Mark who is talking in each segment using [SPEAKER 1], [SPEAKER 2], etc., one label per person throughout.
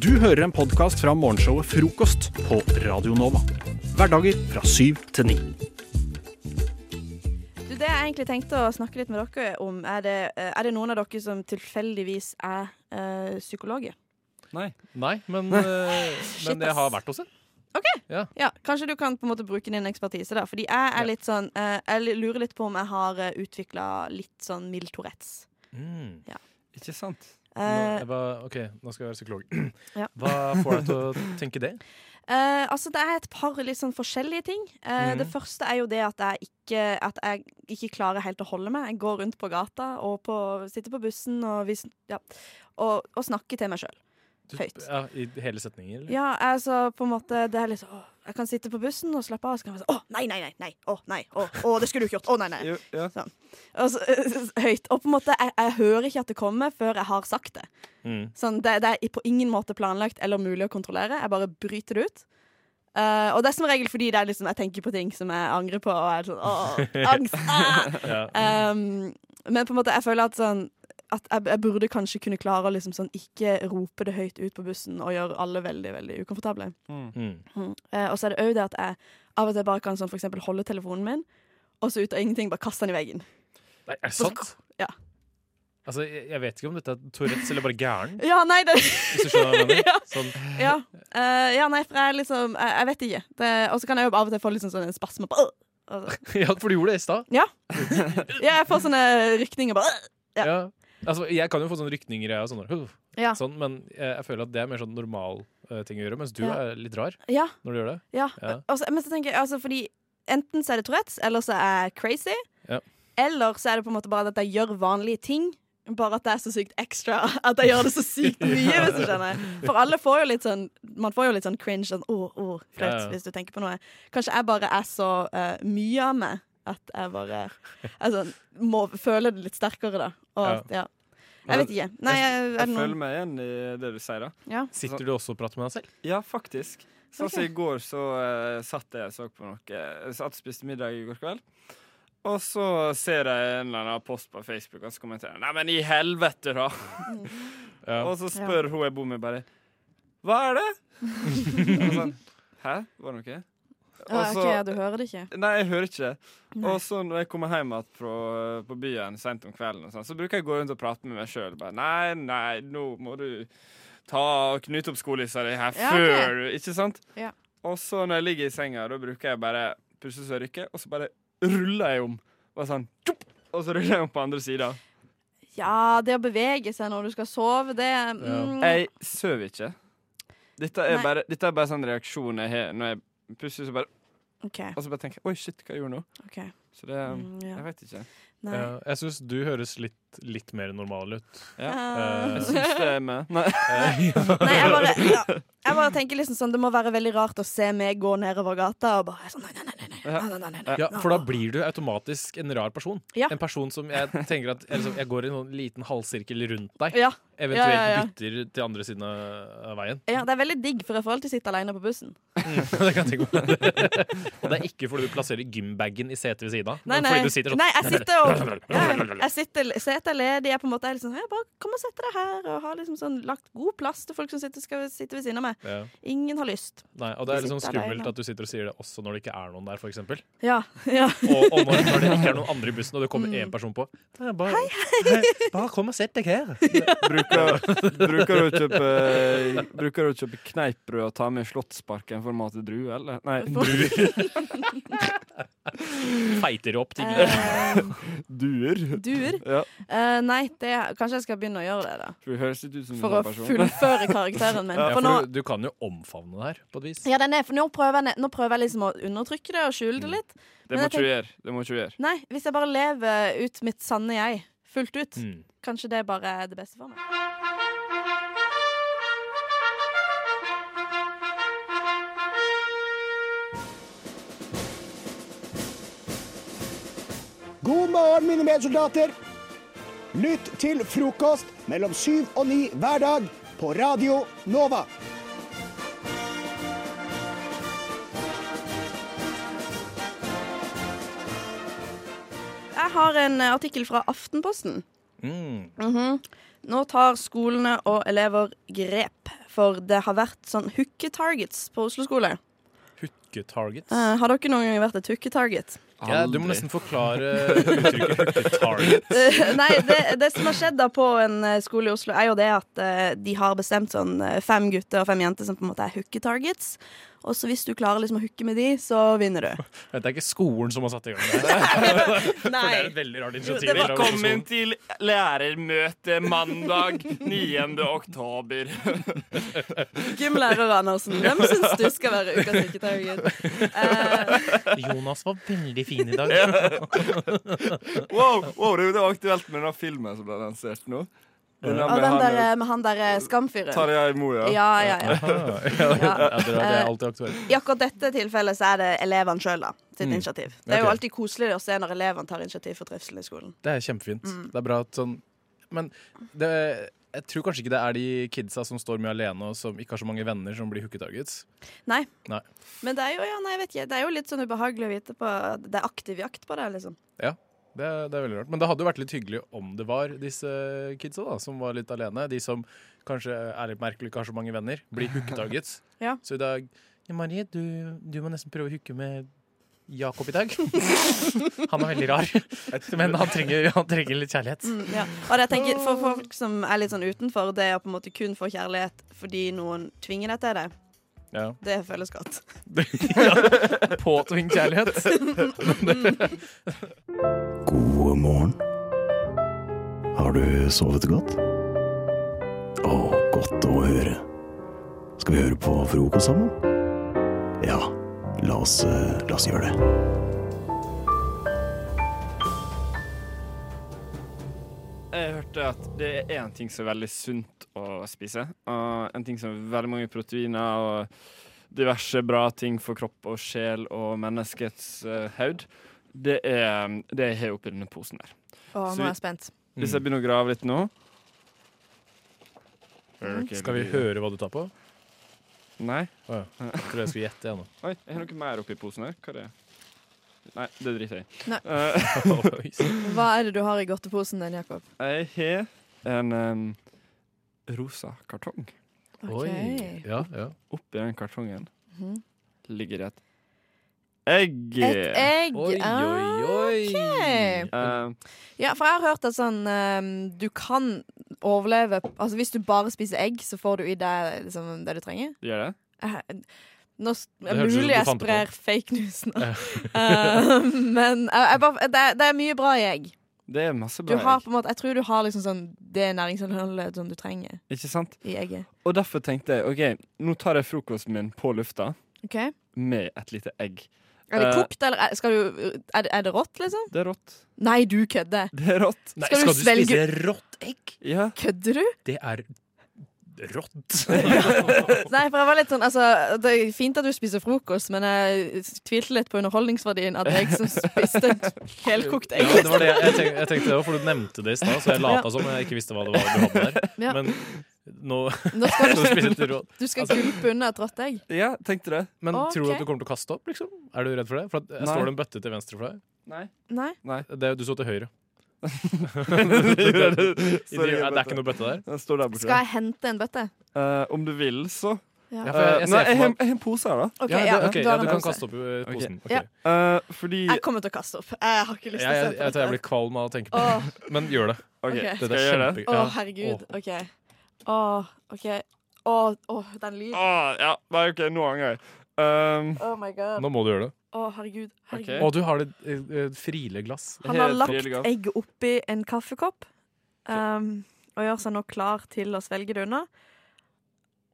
[SPEAKER 1] Du hører en podkast fra morgenshowet Frokost på Radio Nova. Hverdager fra syv til ni.
[SPEAKER 2] Du, det jeg egentlig tenkte å snakke litt med dere om, er det, eh, er det noen av dere som tilfeldigvis er eh, psykologer?
[SPEAKER 3] Nei, Nei men, eh, men jeg har vært hos en.
[SPEAKER 2] Ja, Kanskje du kan på en måte bruke din ekspertise, da. Fordi jeg er litt sånn eh, Jeg lurer litt på om jeg har utvikla litt sånn mild Tourettes. Ja.
[SPEAKER 3] Ikke sant? Nå,
[SPEAKER 2] Eh,
[SPEAKER 3] jeg bare, ok, nå skal jeg være psykolog.
[SPEAKER 2] Ja.
[SPEAKER 3] Hva får deg til å tenke det?
[SPEAKER 2] Eh, altså Det er et par litt sånn forskjellige ting. Eh,
[SPEAKER 3] Mhm.
[SPEAKER 2] Det første er jo det at jeg, ikke, at jeg ikke klarer helt å holde meg. Jeg går rundt på gata og på, sitter på bussen og, vis, ja, og, og snakker til meg sjøl.
[SPEAKER 3] Du,
[SPEAKER 2] Høyt.
[SPEAKER 3] ja, I hele setninger? eller?
[SPEAKER 2] Ja, altså på en måte Det er litt sånn åh, Jeg kan sitte på bussen og slappe av, og så kan jeg være sånn Å, nei, nei, nei. nei, Å, nei. Å, å det skulle du ikke gjort. Å, nei, nei. Sånn. Og så, høyt. Og på en måte, jeg, jeg hører ikke at det kommer før jeg har sagt det.
[SPEAKER 3] Mm.
[SPEAKER 2] Sånn, det, det er på ingen måte planlagt eller mulig å kontrollere. Jeg bare bryter det ut. Eh, og det er som regel fordi det er liksom, jeg tenker på ting som jeg angrer på. Og jeg er sånn, åh, angst ah!
[SPEAKER 3] Ja.
[SPEAKER 2] Ehm, Men på en måte, jeg føler at sånn at jeg, jeg burde kanskje kunne klare å liksom sånn, ikke rope det høyt ut på bussen og gjøre alle veldig veldig ukomfortable.
[SPEAKER 3] Mm.
[SPEAKER 2] Mm. Eh, og så er det òg det at jeg av og til bare kan sånn, for eksempel, holde telefonen min, og så ut av ingenting bare kaste den i veggen.
[SPEAKER 3] Nei, er det sant?
[SPEAKER 2] Ja.
[SPEAKER 3] Altså, jeg, jeg vet ikke om dette er Tourettes eller bare gæren.
[SPEAKER 2] Ja, nei, det
[SPEAKER 3] Hvis du skjønner hva jeg mener. Sånn,
[SPEAKER 2] Ja, Eh, ja nei, for jeg liksom Jeg, jeg vet ikke. Det- Og så kan jeg jo av og til få litt sånn, sånn en spasme på «Åh!» Og så-
[SPEAKER 3] ja, for du gjorde det i stad.
[SPEAKER 2] Ja, jeg får sånne rykninger på «Åh!» Ja.
[SPEAKER 3] Ja. Altså, jeg kan jo få sånne rykninger, jeg, og sånne, «Huff»,
[SPEAKER 2] Ja.
[SPEAKER 3] sånn, men jeg, jeg føler at det er mer sånn normal eh, ting å gjøre. Mens du
[SPEAKER 2] Ja.
[SPEAKER 3] er litt rar
[SPEAKER 2] Ja,
[SPEAKER 3] når du gjør det.
[SPEAKER 2] ja.
[SPEAKER 3] Ja.
[SPEAKER 2] Og så- men så tenker jeg altså fordi enten så er det Tourettes, eller så er jeg crazy.
[SPEAKER 3] Ja.
[SPEAKER 2] Eller så er det på en måte bare at jeg gjør vanlige ting. Bare at det er så sykt ekstra. At jeg gjør det så sykt mye, hvis du skjønner. For alle får jo litt sånn Man får jo litt sånn cringe, sånn åh, åh, flaut,
[SPEAKER 3] Ja, ja.
[SPEAKER 2] hvis du tenker på noe. Kanskje jeg bare er så eh, mye av meg at jeg bare jeg sånn, må føle det litt sterkere, da. Og, ja. Jeg vet ikke. Nei, jeg, er
[SPEAKER 4] Jeg
[SPEAKER 2] det
[SPEAKER 4] føler
[SPEAKER 2] noen
[SPEAKER 4] meg igjen i det du sier, da.
[SPEAKER 2] ja.
[SPEAKER 3] Sitter du også og prater med deg selv?
[SPEAKER 4] Ja, faktisk. Sånn som
[SPEAKER 2] Ok.
[SPEAKER 4] i går, så eh, satt jeg og så på noe Jeg Satt og spiste middag i går kveld. Og så ser jeg en eller annen post på Facebook, og så kommenterer jeg 'Nei, men i helvete, da!'
[SPEAKER 3] Ja.
[SPEAKER 4] Og så spør hun jeg bor med, bare 'Hva er det?' Og sånn, Hæ? Var det noe?
[SPEAKER 2] Å,
[SPEAKER 4] Og så-
[SPEAKER 2] ok, Du hører det ikke?
[SPEAKER 4] Nei, jeg hører ikke.
[SPEAKER 2] Nei.
[SPEAKER 4] Og så når jeg kommer hjem igjen fra, på byen sent om kvelden, og sånn, så bruker jeg å gå rundt og prate med meg sjøl. Nei, nei, nå må du ta og knyte opp skolissa di her
[SPEAKER 2] Ja, ok.
[SPEAKER 4] før du Ikke sant?
[SPEAKER 2] Ja.
[SPEAKER 4] Og så når jeg ligger i senga, da bruker jeg bare pusse så jeg rykker, og så bare ruller jeg om. Bare sånn, tjopp, og så ruller jeg om på andre sida.
[SPEAKER 2] Ja, det å bevege seg når du skal sove, det mm,
[SPEAKER 4] Jeg sover ikke. Dette er,
[SPEAKER 2] Nei.
[SPEAKER 4] bare, dette er bare sånn reaksjon jeg har når jeg pusser, så bare,
[SPEAKER 2] OK.
[SPEAKER 4] og så bare tenker jeg Oi, shit, hva jeg gjorde jeg nå?
[SPEAKER 2] ok
[SPEAKER 4] Så det um,
[SPEAKER 2] Mm, ja.
[SPEAKER 4] Jeg vet ikke.
[SPEAKER 2] Nei.
[SPEAKER 3] Ja, jeg syns du høres litt, litt mer normal ut.
[SPEAKER 4] Ja.
[SPEAKER 2] Eh,
[SPEAKER 3] Eh,
[SPEAKER 4] Jeg syns det er med. Nei.
[SPEAKER 2] Nei, jeg bare, ja. jeg bare tenker liksom sånn Det må være veldig rart å se meg gå nedover gata og bare sånn Nei, nei, nei. nei, nei, nei, nei, nei, nei.
[SPEAKER 3] Ja, For da blir du automatisk en rar person.
[SPEAKER 2] Ja.
[SPEAKER 3] En person som jeg tenker at jeg, liksom, jeg går i en sånn liten halvsirkel rundt deg.
[SPEAKER 2] Ja,
[SPEAKER 3] Eventuelt
[SPEAKER 2] Ja, ja, ja.
[SPEAKER 3] bytter til andre siden av av veien.
[SPEAKER 2] ja, det er veldig digg, for jeg får alltid sitte alene på bussen.
[SPEAKER 3] det kan jeg tenke meg. Og det er ikke fordi du plasserer gymbagen i setet ved siden av.
[SPEAKER 2] Nei,
[SPEAKER 3] men
[SPEAKER 2] nei.
[SPEAKER 3] fordi du sitter sånn
[SPEAKER 2] nei jeg sitter og ja, Jeg sitter, setet er ledig. Jeg er på en måte er litt sånn «Hei, Bare kom og sett deg her, og har liksom sånn lagt god plass til folk som sitter, skal sitte ved siden av meg.
[SPEAKER 3] ja.
[SPEAKER 2] Ingen har lyst.
[SPEAKER 3] Nei, Og det er
[SPEAKER 2] Du
[SPEAKER 3] litt sånn
[SPEAKER 2] sitter alene.
[SPEAKER 3] skummelt at du sitter og sier det også når det ikke er noen der, f.eks. Og,
[SPEAKER 2] Ja, ja. Mm.
[SPEAKER 3] og når, når det ikke er noen andre i bussen, og det kommer én person på. Det er bare, hei, bare kom og sett deg her.
[SPEAKER 4] Bruker, bruker, du å kjøpe, eh, bruker du å kjøpe kneippbrød og ta med Slottsparken for å mate druer, eller? Nei,
[SPEAKER 3] Feiter opp til
[SPEAKER 2] Eh,
[SPEAKER 4] duer.
[SPEAKER 2] duer.
[SPEAKER 4] Ja,
[SPEAKER 2] Eh, nei, det, kanskje jeg skal begynne å gjøre det, da.
[SPEAKER 4] for det høres litt ut som
[SPEAKER 2] For å
[SPEAKER 4] en sånn person.
[SPEAKER 2] fullføre karakteren min.
[SPEAKER 3] ja,
[SPEAKER 2] For nå,
[SPEAKER 3] for du, du kan jo omfavne det her på et vis.
[SPEAKER 2] ja, den er, for nå, prøver jeg, ne- nå prøver jeg liksom å undertrykke det og skjule det litt.
[SPEAKER 4] Mm. Det
[SPEAKER 2] Men
[SPEAKER 4] må
[SPEAKER 2] jeg
[SPEAKER 4] ikke du gjøre. Det må ikke du gjøre.
[SPEAKER 2] Nei, hvis jeg bare lever ut mitt sanne jeg fullt ut,
[SPEAKER 3] Mm.
[SPEAKER 2] kanskje det bare er det beste for meg.
[SPEAKER 5] God morgen, mine medsoldater. Lytt til frokost mellom syv og ni hver dag på Radio Nova.
[SPEAKER 2] Jeg har en eh, artikkel fra Aftenposten.
[SPEAKER 3] Mm.
[SPEAKER 2] Nå tar skolene og elever grep, for det har vært sånn hooketargets på Oslo skole.
[SPEAKER 3] Hooketargets.
[SPEAKER 2] Eh, har dere noen gang vært et hooketarget?
[SPEAKER 3] Ja, du må nesten forklare uttrykket hooketarget.
[SPEAKER 2] Eh, Nei, det, det som har skjedd da på en eh, skole i Oslo, er jo det at eh, de har bestemt sånn eh, fem gutter og fem jenter som på en måte er hooketargets. Og så hvis du klarer liksom å hooke med de, så vinner du.
[SPEAKER 3] Det er ikke skolen som har satt i gang det. her. For det er et veldig rart initiativ.
[SPEAKER 2] Det var-
[SPEAKER 3] fra Oslo-skolen.
[SPEAKER 4] Velkommen til lærermøte mandag 9. oktober.
[SPEAKER 2] Gymlærer Andersen, hvem syns du skal være ukas hooketarget? Eh,
[SPEAKER 3] Jonas var veldig fin i dag.
[SPEAKER 4] Wow, wow, det det var aktuelt med den filmen som ble lansert nå. Den der
[SPEAKER 2] og
[SPEAKER 4] med
[SPEAKER 2] den
[SPEAKER 4] han,
[SPEAKER 2] der eh, med han derre skamfyren.
[SPEAKER 4] Tarjei Moe, ja.
[SPEAKER 2] Ja, ja, ja. Eh,
[SPEAKER 3] Ah, ja, ja, det er det er alltid aktuelt. Mm.
[SPEAKER 2] I akkurat dette tilfellet så er det elevene sjøl sitt initiativ. Det er jo
[SPEAKER 3] Ok.
[SPEAKER 2] alltid koselig å se når elevene tar initiativ for trivsel i skolen.
[SPEAKER 3] Det er kjempefint.
[SPEAKER 2] Mm.
[SPEAKER 3] Det er bra at sånn Men det, jeg tror kanskje ikke det er de kidsa som står mye alene og som ikke har så mange venner, som blir hooketargets.
[SPEAKER 2] Nei.
[SPEAKER 3] Nei.
[SPEAKER 2] Men det er jo, ja, nei, jeg vet ikke, det er jo litt sånn ubehagelig å vite på at Det er aktiv jakt på det, liksom.
[SPEAKER 3] Det, er- det er veldig rart. Men det hadde jo vært litt hyggelig om det var disse kidsa da, som var litt alene. De som kanskje er litt merkelig ikke har så mange venner, blir hooketargets.
[SPEAKER 2] Ja.
[SPEAKER 3] Så i dag ja, Marie, du, du må nesten prøve å hooke med Jakob i dag. Han er veldig rar, men han trenger, han trenger litt kjærlighet.
[SPEAKER 2] Mm, ja. Og det jeg tenker, for folk som er litt sånn utenfor, det å på en måte kun få kjærlighet fordi noen tvinger deg til det,
[SPEAKER 3] Ja.
[SPEAKER 2] det føles godt.
[SPEAKER 3] Påtving kjærlighet.
[SPEAKER 6] God morgen. Har du sovet godt? Å, godt å høre. Skal vi høre på frokost sammen? Ja, la oss, eh, la oss gjøre det.
[SPEAKER 4] Jeg hørte at det er én ting som er veldig sunt å spise, og en ting som er veldig mange proteiner og diverse bra ting for kropp og sjel og menneskets eh, hode. Det er det jeg har oppi denne posen her.
[SPEAKER 2] Å,
[SPEAKER 4] Så
[SPEAKER 2] nå
[SPEAKER 4] vi-
[SPEAKER 2] er jeg spent.
[SPEAKER 4] Hvis jeg begynner å grave litt nå Hører dere
[SPEAKER 3] Mm. Skal vi
[SPEAKER 4] lyden?
[SPEAKER 3] høre hva du tar på?
[SPEAKER 4] Nei.
[SPEAKER 3] Å ja. Jeg tror jeg skulle gjette igjen nå.
[SPEAKER 4] Oi, jeg har noe mer oppi posen her. Hva er det? Nei, det driter jeg i.
[SPEAKER 2] Nei.
[SPEAKER 4] Eh,
[SPEAKER 3] Oi, sant.
[SPEAKER 2] Hva er det du har i godteposen din, Jakob?
[SPEAKER 4] Jeg har en em, rosa kartong.
[SPEAKER 3] Oi. Ja, ja.
[SPEAKER 4] Oppi den kartongen
[SPEAKER 2] Mhm.
[SPEAKER 4] ligger det et egg.
[SPEAKER 2] Et egg.
[SPEAKER 3] Oi, oi, oi.
[SPEAKER 2] Ok.
[SPEAKER 4] Em,
[SPEAKER 2] Ja, for jeg har hørt at sånn ehm, Du kan overleve Altså hvis du bare spiser egg, så får du i deg liksom, det du trenger.
[SPEAKER 4] gjør det?
[SPEAKER 2] Jeg- Nå s-
[SPEAKER 3] Det høres ut som
[SPEAKER 2] mulig
[SPEAKER 3] du
[SPEAKER 2] jeg
[SPEAKER 3] fant det
[SPEAKER 2] sprer
[SPEAKER 3] på.
[SPEAKER 2] fake news nå. Ehm, men jeg, jeg bare, det, er- det er mye bra i egg.
[SPEAKER 4] Det er masse
[SPEAKER 2] Du
[SPEAKER 4] bra
[SPEAKER 2] har
[SPEAKER 4] egg.
[SPEAKER 2] på en måte, jeg tror du har liksom sånn det næringsinnholdet som du trenger
[SPEAKER 4] Ikke sant?
[SPEAKER 2] i egget.
[SPEAKER 4] Og derfor tenkte jeg OK, nå tar jeg frokosten min på lufta
[SPEAKER 2] Ok Er
[SPEAKER 4] med et lite egg.
[SPEAKER 2] det
[SPEAKER 4] Eh.
[SPEAKER 2] kokt, eller er, skal du, er, det- er det rått, liksom?
[SPEAKER 4] Det er rått.
[SPEAKER 2] Nei, du kødder!
[SPEAKER 4] Det er rått.
[SPEAKER 3] Nei,
[SPEAKER 2] Skal du
[SPEAKER 3] skal du spise
[SPEAKER 2] svelge-
[SPEAKER 3] rått egg?
[SPEAKER 4] Ja.
[SPEAKER 2] Kødder du?
[SPEAKER 3] Det er rått.
[SPEAKER 2] Nei, for jeg var litt sånn, altså, Det er fint at du spiser frokost, men jeg tvilte litt på underholdningsverdien av deg som spiste et helkokt
[SPEAKER 3] Ja,
[SPEAKER 2] egg.
[SPEAKER 3] det var det jeg, tenkte, jeg tenkte det var, for du nevnte det i stad, så jeg lata som jeg ikke visste hva det var du hadde der.
[SPEAKER 2] Ja.
[SPEAKER 3] Men nå
[SPEAKER 2] Nå skal
[SPEAKER 3] nå
[SPEAKER 2] du,
[SPEAKER 3] spiller det råd.
[SPEAKER 2] du skal
[SPEAKER 3] altså-
[SPEAKER 2] gulpe unna et rått egg.
[SPEAKER 4] ja, tenkte det.
[SPEAKER 3] Men
[SPEAKER 2] Ok.
[SPEAKER 3] tror du at du kommer til å kaste opp, liksom? Er du redd for det? For at jeg
[SPEAKER 4] Nei.
[SPEAKER 3] står det en bøtte til venstre for deg.
[SPEAKER 4] Nei.
[SPEAKER 2] Nei.
[SPEAKER 3] Det, du så til høyre. I de, det er ikke noe bøtte der?
[SPEAKER 4] Den står der borte.
[SPEAKER 2] Skal jeg hente en bøtte?
[SPEAKER 4] Eh, om du vil, så.
[SPEAKER 3] Ja,
[SPEAKER 2] Ja.
[SPEAKER 3] for jeg,
[SPEAKER 4] Eh,
[SPEAKER 3] jeg
[SPEAKER 4] nei,
[SPEAKER 3] ser
[SPEAKER 4] jeg
[SPEAKER 3] for
[SPEAKER 4] har
[SPEAKER 3] meg
[SPEAKER 4] jeg har en pose her, da.
[SPEAKER 2] OK,
[SPEAKER 3] ja,
[SPEAKER 2] ja,
[SPEAKER 3] det- ok,
[SPEAKER 2] du
[SPEAKER 3] ja,
[SPEAKER 2] har
[SPEAKER 3] du
[SPEAKER 2] en
[SPEAKER 3] kan
[SPEAKER 2] pose.
[SPEAKER 3] kaste opp i posen. Ok.
[SPEAKER 2] Ja.
[SPEAKER 4] Eh, fordi
[SPEAKER 2] Jeg kommer til å kaste opp. Jeg har ikke
[SPEAKER 3] Jeg,
[SPEAKER 2] lyst til å
[SPEAKER 3] jeg,
[SPEAKER 2] se
[SPEAKER 3] jeg tror jeg
[SPEAKER 2] på
[SPEAKER 3] blir
[SPEAKER 2] dette.
[SPEAKER 3] kvalm av å tenke på det.
[SPEAKER 2] Åh,
[SPEAKER 3] Men gjør det.
[SPEAKER 4] OK,
[SPEAKER 2] Ok.
[SPEAKER 3] Det
[SPEAKER 4] skal jeg gjøre det?
[SPEAKER 3] kjempe-
[SPEAKER 2] åh,
[SPEAKER 3] ja.
[SPEAKER 2] herregud.
[SPEAKER 3] Åh.
[SPEAKER 2] OK. Åh, OK. Åh, åh, den lyden.
[SPEAKER 4] Ah, ja, nei, OK, nå angrer jeg. Um,
[SPEAKER 2] Oh my god.
[SPEAKER 3] Nå må du gjøre det.
[SPEAKER 2] Åh, herregud. herregud.
[SPEAKER 4] Ok.
[SPEAKER 3] Og du har det eh, eh, frile glass.
[SPEAKER 2] Han har
[SPEAKER 4] Helt
[SPEAKER 2] lagt
[SPEAKER 4] frivillig, ass.
[SPEAKER 2] egget oppi en kaffekopp ehm, og gjør seg nå klar til å svelge det unna.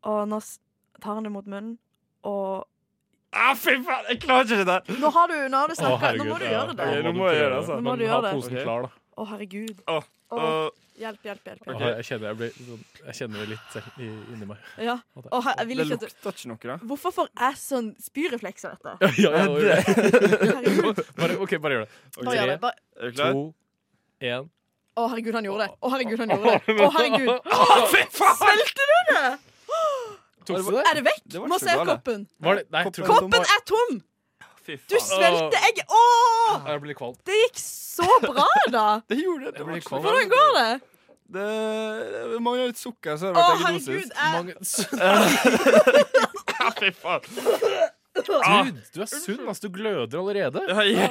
[SPEAKER 2] Og nå s- tar han det mot munnen, og
[SPEAKER 4] ah, fy faen, jeg klarer ikke det der!
[SPEAKER 2] Nå har du, nå har du
[SPEAKER 3] Å,
[SPEAKER 2] snakka! Nå
[SPEAKER 3] herregud,
[SPEAKER 2] må du
[SPEAKER 3] ja.
[SPEAKER 2] gjøre det.
[SPEAKER 4] Ok,
[SPEAKER 3] Ja, du
[SPEAKER 4] nå må
[SPEAKER 2] Å,
[SPEAKER 4] jeg
[SPEAKER 3] prøve
[SPEAKER 4] gjøre det, altså.
[SPEAKER 2] Nå må
[SPEAKER 3] Men ha
[SPEAKER 2] du gjøre det.
[SPEAKER 3] posen
[SPEAKER 4] Ok.
[SPEAKER 3] klar, da.
[SPEAKER 2] herregud.
[SPEAKER 4] Åh,
[SPEAKER 2] Å,
[SPEAKER 4] åh.
[SPEAKER 2] hjelp, hjelp, hjelp.
[SPEAKER 4] Ok.
[SPEAKER 2] hjelp.
[SPEAKER 3] Åh, Jeg kjenner, jeg, blir, sånn, jeg kjenner det litt selv i, inni meg.
[SPEAKER 2] Ja. Å, her- jeg vil
[SPEAKER 4] det
[SPEAKER 2] ikke at du
[SPEAKER 4] lukter ikke noe, da.
[SPEAKER 2] Hvorfor får jeg sånn spyrefleks av dette?
[SPEAKER 3] Ja, ja, ja, ja.
[SPEAKER 2] Herregud.
[SPEAKER 3] Bare, ok, bare gjør det.
[SPEAKER 2] Bare gjør det. Bare...
[SPEAKER 4] Er
[SPEAKER 3] Tre,
[SPEAKER 4] du klar?
[SPEAKER 3] to, én.
[SPEAKER 2] Å, herregud, han gjorde det. Å, herregud, han gjorde det. Å, herregud. Svelgte du det?
[SPEAKER 3] Tok du det?
[SPEAKER 2] Er det vekk?
[SPEAKER 4] Det var
[SPEAKER 2] Må
[SPEAKER 4] ikke så
[SPEAKER 2] se
[SPEAKER 4] galt, det.
[SPEAKER 2] koppen.
[SPEAKER 3] Var det? Nei, jeg tror
[SPEAKER 2] Koppen er tom!
[SPEAKER 4] Fy
[SPEAKER 2] Du
[SPEAKER 4] faen.
[SPEAKER 2] svelgte egget. Å!
[SPEAKER 3] Jeg blir kvalm.
[SPEAKER 2] Det gikk så bra, da!
[SPEAKER 4] Det gjorde det.
[SPEAKER 3] Jeg blir
[SPEAKER 4] det var ikke så
[SPEAKER 3] kvalm.
[SPEAKER 4] galt.
[SPEAKER 2] Hvordan går det?
[SPEAKER 4] Det, det mangler litt sukker, så har
[SPEAKER 2] Å,
[SPEAKER 4] det vært
[SPEAKER 2] herregud!
[SPEAKER 4] eggedosis.
[SPEAKER 2] Jeg,
[SPEAKER 4] Ja, fy faen. Ah.
[SPEAKER 3] Ah.
[SPEAKER 7] Dude, du er sunn, ass. Du gløder allerede.
[SPEAKER 4] Ja, ja.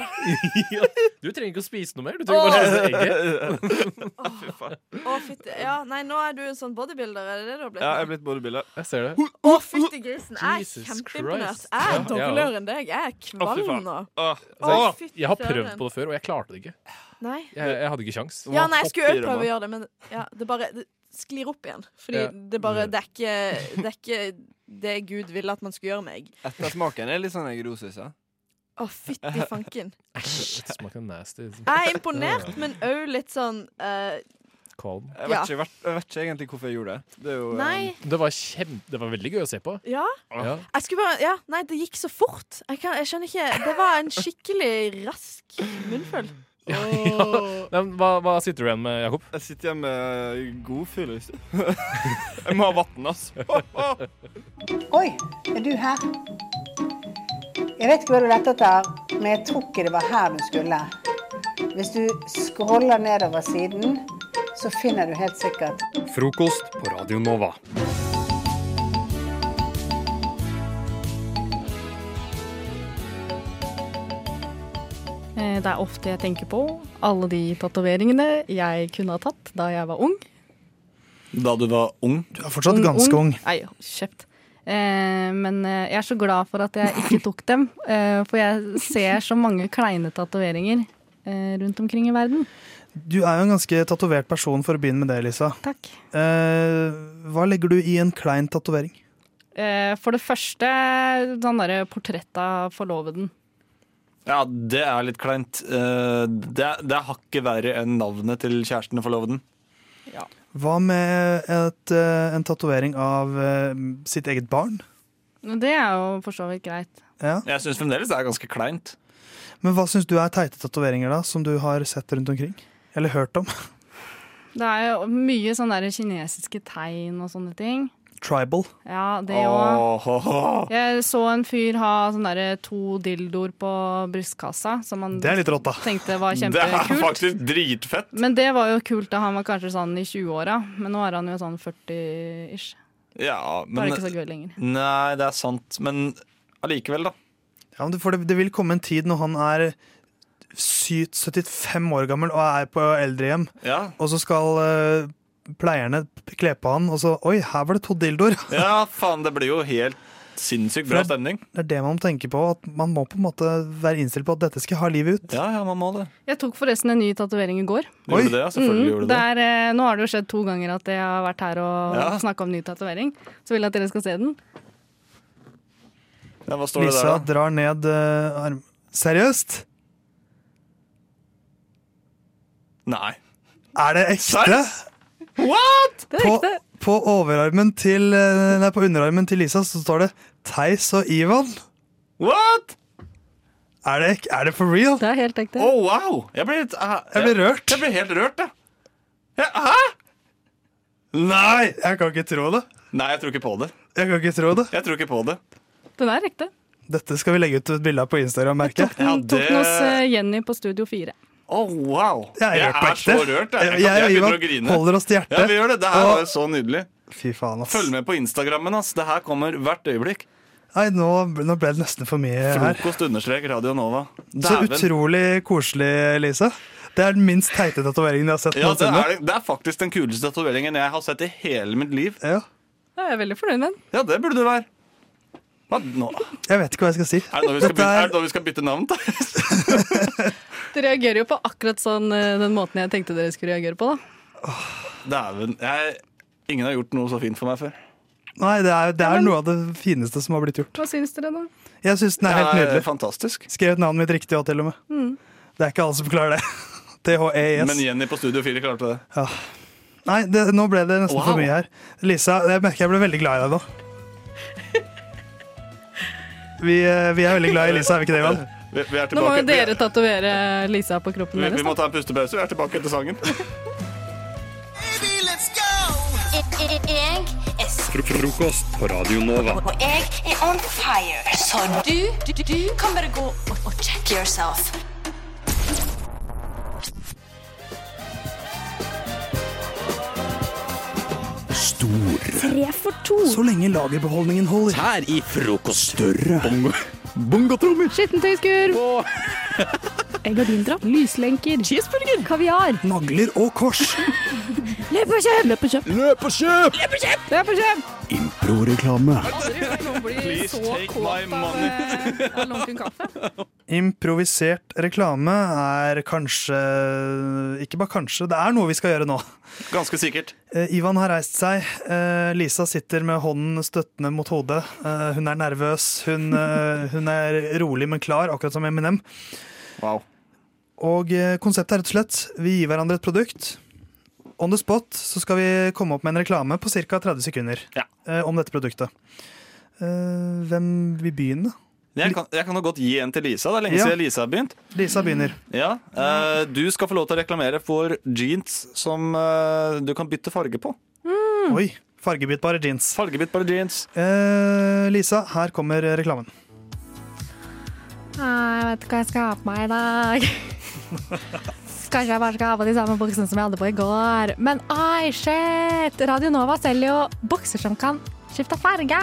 [SPEAKER 7] Ja. Du trenger ikke å spise noe mer. Du trenger bare å spise egget.
[SPEAKER 2] å, fytti Ja, nei, nå er du en sånn bodybuilder, er det det du har blitt?
[SPEAKER 4] ja jeg er blitt bodybuilder.
[SPEAKER 7] Jeg ser det.
[SPEAKER 2] Å, fytti grisen. Jeg
[SPEAKER 7] Jesus
[SPEAKER 2] er kjempeimponert.
[SPEAKER 7] Christ.
[SPEAKER 2] Jeg
[SPEAKER 7] Ja,
[SPEAKER 2] er
[SPEAKER 7] ja.
[SPEAKER 2] dårligere enn deg. Jeg er
[SPEAKER 4] Å, fy
[SPEAKER 2] kvalm
[SPEAKER 4] faen.
[SPEAKER 2] nå.
[SPEAKER 4] Åh.
[SPEAKER 2] Å,
[SPEAKER 7] Altså,
[SPEAKER 2] fytti
[SPEAKER 7] Jeg har prøvd
[SPEAKER 2] søren.
[SPEAKER 7] på det før, og jeg klarte det ikke.
[SPEAKER 2] Nei.
[SPEAKER 7] Jeg, jeg hadde ikke kjangs.
[SPEAKER 2] Ja, nei, jeg
[SPEAKER 4] hoppe
[SPEAKER 2] skulle
[SPEAKER 4] i
[SPEAKER 2] også
[SPEAKER 4] det,
[SPEAKER 2] prøve å
[SPEAKER 4] man.
[SPEAKER 2] gjøre det, men ja, det bare det sklir opp igjen. Fordi
[SPEAKER 7] Ja.
[SPEAKER 2] det bare det er ikke Det er ikke det Gud ville at man skulle gjøre meg.
[SPEAKER 4] Ettersmaken er litt sånn eggedosis, ja.
[SPEAKER 2] Å, fytti fanken.
[SPEAKER 7] Shit, smakte nasty.
[SPEAKER 2] Jeg er imponert, men òg litt sånn eh,
[SPEAKER 7] Kvalm.
[SPEAKER 4] Jeg
[SPEAKER 2] Ja.
[SPEAKER 4] vet, ikke, hvert- jeg vet ikke egentlig hvorfor jeg gjorde det. Det er jo um,
[SPEAKER 2] Nei.
[SPEAKER 7] Det var, kjem... det var veldig gøy å se på.
[SPEAKER 2] Ja.
[SPEAKER 7] Ja.
[SPEAKER 2] Jeg skulle bare Ja, nei, det gikk så fort. Jeg, kan, jeg skjønner ikke Det var en skikkelig rask munnfull.
[SPEAKER 7] Nei, men hva, hva sitter du igjen med, Jakob?
[SPEAKER 4] Jeg sitter hjemme med god fyllest. jeg må ha vann, altså.
[SPEAKER 8] Oi, er du her? Jeg vet ikke hva du lette etter, men jeg tror ikke det var her du skulle. Hvis du scroller nedover siden, så finner du helt sikkert
[SPEAKER 9] Frokost på Radio Nova.
[SPEAKER 10] Eh, Det er ofte jeg tenker på alle de tatoveringene jeg kunne ha tatt da jeg var ung.
[SPEAKER 6] Da du var ung? Du er fortsatt ganske ung.
[SPEAKER 10] Nei, kjøpt. Eh, men eh, jeg er så glad for at jeg ikke tok dem, eh, for jeg ser så mange kleine tatoveringer eh, rundt omkring i verden.
[SPEAKER 11] Du er jo en ganske tatovert person, for å begynne med det, Lisa.
[SPEAKER 10] Takk.
[SPEAKER 11] Eh, hva legger du i en klein tatovering?
[SPEAKER 10] Eh, for det første, sånn derre portrett av forloveden.
[SPEAKER 9] Ja, det er litt kleint. Eh, Det er, det er hakket verre enn navnet til kjæresten og forloveden.
[SPEAKER 11] Hva med et, eh, en tatovering av eh, sitt eget barn?
[SPEAKER 10] Det er jo for så vidt greit.
[SPEAKER 11] Ja.
[SPEAKER 9] Jeg syns fremdeles det er ganske kleint.
[SPEAKER 11] Men hva syns du er teite tatoveringer, da, som du har sett rundt omkring? Eller hørt om?
[SPEAKER 10] Det er jo mye sånne der kinesiske tegn og sånne ting.
[SPEAKER 11] Tribal.
[SPEAKER 10] Ja, det òg.
[SPEAKER 9] Åh, hå, hå.
[SPEAKER 10] Jeg så en fyr ha sånn derre to dildoer på brystkassa, som han
[SPEAKER 11] Det er litt rått, da.
[SPEAKER 10] tenkte var
[SPEAKER 9] Det er
[SPEAKER 10] kjempekult.
[SPEAKER 9] faktisk dritfett.
[SPEAKER 10] Men det var jo kult da han var kanskje sånn i 20-åra, men nå er han jo sånn 40-ish.
[SPEAKER 9] Ja,
[SPEAKER 10] Da er
[SPEAKER 9] men
[SPEAKER 10] det ikke så gøy lenger.
[SPEAKER 9] Nei, det er sant. Men allikevel, da.
[SPEAKER 11] Ja, men det- for det, det vil komme en tid når han er syv- 75 år gammel og er på eldrehjem,
[SPEAKER 9] Ja,
[SPEAKER 11] og så skal eh, pleierne kle på han, og så Oi, her var det to dildoer!
[SPEAKER 9] ja faen, det blir jo helt sinnssykt bra stemning.
[SPEAKER 11] Det er det man må tenke på. at Man må på en måte være innstilt på at dette skal jeg ha livet ut.
[SPEAKER 9] Ja, ja, man må det.
[SPEAKER 10] Jeg tok forresten en ny tatovering i går.
[SPEAKER 9] Du gjorde det, ja. Selvfølgelig
[SPEAKER 10] Mm,
[SPEAKER 9] gjorde du
[SPEAKER 10] det
[SPEAKER 9] det.
[SPEAKER 10] er, eh, nå har det jo skjedd to ganger at jeg har vært her og
[SPEAKER 9] Ja.
[SPEAKER 10] snakka om ny tatovering. Så vil jeg at dere skal se den.
[SPEAKER 9] Ja, hva står det
[SPEAKER 11] Lisa
[SPEAKER 9] der, da?
[SPEAKER 11] drar ned eh, arm... Seriøst?
[SPEAKER 9] Nei.
[SPEAKER 11] Er det ekte?
[SPEAKER 10] Det er
[SPEAKER 11] På,
[SPEAKER 10] ekte.
[SPEAKER 11] på overarmen til eh, Nei, på underarmen til Lisa så står det Theis og Ivan.
[SPEAKER 9] What?!
[SPEAKER 11] Er det, ek- er det for real?
[SPEAKER 10] Det er helt ekte.
[SPEAKER 9] Oh, wow! Jeg blir, litt- eh,
[SPEAKER 11] Jeg blir rørt.
[SPEAKER 9] Jeg ble helt rørt, jeg. Ja, Hæ? Nei!
[SPEAKER 11] Jeg kan ikke tro det.
[SPEAKER 9] Nei, jeg tror ikke på det.
[SPEAKER 11] Jeg kan ikke tro det.
[SPEAKER 9] Jeg tror ikke på det.
[SPEAKER 10] Den er ekte.
[SPEAKER 11] Dette skal vi legge ut et bilde av på Instagram, merker jeg.
[SPEAKER 9] Ja,
[SPEAKER 10] Den tok
[SPEAKER 9] det-
[SPEAKER 10] den hos eh, Jenny på Studio 4.
[SPEAKER 9] Oh, wow!
[SPEAKER 11] Jeg er rørt på
[SPEAKER 9] så
[SPEAKER 11] ekte.
[SPEAKER 9] rørt. Jeg, jeg,
[SPEAKER 11] Jeg
[SPEAKER 9] jeg
[SPEAKER 11] og
[SPEAKER 9] begynner å
[SPEAKER 11] Ivan
[SPEAKER 9] grine.
[SPEAKER 11] holder oss til
[SPEAKER 9] Ja, vi
[SPEAKER 11] hjertet.
[SPEAKER 9] gjør det. Det her var jo så nydelig.
[SPEAKER 11] Fy faen, ass.
[SPEAKER 9] Følg med på Instagrammen, ass. Det her kommer hvert øyeblikk.
[SPEAKER 11] Nei, nå, nå ble det nesten for mye her.
[SPEAKER 9] Frokost understrek Radio Nova.
[SPEAKER 11] Så
[SPEAKER 9] Dæven.
[SPEAKER 11] utrolig koselig, Lise. Det er den minst teite tatoveringen jeg har sett.
[SPEAKER 9] Ja, det
[SPEAKER 11] noensinne.
[SPEAKER 9] er, det er faktisk den kuleste tatoveringen jeg har sett i hele mitt liv.
[SPEAKER 11] Ja.
[SPEAKER 10] Da er jeg veldig fornøyd med den.
[SPEAKER 9] Ja, det burde du være. Hva, nå? Er
[SPEAKER 11] Jeg vet ikke hva jeg skal si.
[SPEAKER 9] det da vi skal
[SPEAKER 11] Dette
[SPEAKER 9] bytte,
[SPEAKER 11] er-
[SPEAKER 9] er det da vi skal bytte navn, da?
[SPEAKER 10] Dere reagerer jo på akkurat sånn eh, den måten jeg tenkte dere skulle reagere på, da.
[SPEAKER 9] Dæven. Jeg- Ingen har gjort noe så fint for meg før.
[SPEAKER 11] Nei, det er, det er noe av det fineste som har blitt gjort.
[SPEAKER 10] Hva syns dere, da?
[SPEAKER 11] Jeg syns den er helt
[SPEAKER 9] Det er
[SPEAKER 11] nydelig.
[SPEAKER 9] fantastisk.
[SPEAKER 11] Skrevet navnet mitt riktig òg, til og med.
[SPEAKER 10] Mm.
[SPEAKER 11] Det er ikke alle som klarer det. THES.
[SPEAKER 9] Men Jenny på Studio 4 klarte det.
[SPEAKER 11] Nei, det, nå ble det nesten
[SPEAKER 9] Wow.
[SPEAKER 11] for mye her. Lisa, jeg merker jeg ble veldig glad i deg nå. Vi, eh, vi er veldig glad i Lisa, er vi ikke det, Ivan?
[SPEAKER 9] Vi, vi er
[SPEAKER 10] Nå må
[SPEAKER 9] tilbake.
[SPEAKER 10] jo dere tatovere Lisa på kroppen
[SPEAKER 9] Vi, vi
[SPEAKER 10] deres.
[SPEAKER 9] må ta en pustepause. Vi er tilbake etter sangen.
[SPEAKER 12] Jeg er
[SPEAKER 9] Fro- Frokost på Radio Nova.
[SPEAKER 12] og jeg er on fire. Så du, du, du kan bare gå og, og check yourself.
[SPEAKER 2] Tre for to.
[SPEAKER 11] Så lenge lagerbeholdningen holder.
[SPEAKER 13] Her i frokost. Større. Bongo. Bongotrommer.
[SPEAKER 10] Skittentøyskurv. Gardindrapp. Lyslenker.
[SPEAKER 13] Cheeseburger.
[SPEAKER 10] Kaviar.
[SPEAKER 11] Nagler og kors.
[SPEAKER 10] Løp og kjøp! Løp og kjøp!
[SPEAKER 13] Løp og kjøp!
[SPEAKER 10] Løp og kjøp! Løp og kjøp!
[SPEAKER 6] Proreklame.
[SPEAKER 10] Please take my money. Av, av lunken kaffe.
[SPEAKER 11] Improvisert reklame er kanskje Ikke bare kanskje, det er noe vi skal gjøre nå.
[SPEAKER 9] Ganske sikkert.
[SPEAKER 11] Eh, Ivan har reist seg. Eh, Lisa sitter med hånden støttende mot hodet. Eh, hun er nervøs. Hun, eh, hun er rolig, men klar, akkurat som Eminem. Og eh, konseptet er rett og slett vi gir hverandre et produkt. On the spot så skal vi komme opp med en reklame på ca. 30 sekunder eh, om dette produktet. Eh, hvem vil begynne?
[SPEAKER 9] Jeg kan, jeg kan jo godt gi en til Lisa. Det er lenge
[SPEAKER 11] Ja.
[SPEAKER 9] siden Lisa har begynt.
[SPEAKER 11] Lisa begynner.
[SPEAKER 9] Ja, eh, Du skal få lov til å reklamere for jeans som eh, du kan bytte farge på. Mm.
[SPEAKER 11] Oi. Fargebyttbare jeans.
[SPEAKER 9] Fargebyttbare jeans.
[SPEAKER 11] Eh, Lisa, her kommer reklamen.
[SPEAKER 10] Ah, Jeg vet ikke hva jeg skal ha på meg i dag. Kanskje jeg bare skal ha på de samme buksene som jeg hadde på i går. Men ai, shit! Radio Nova selger jo bukser som kan skifte farge!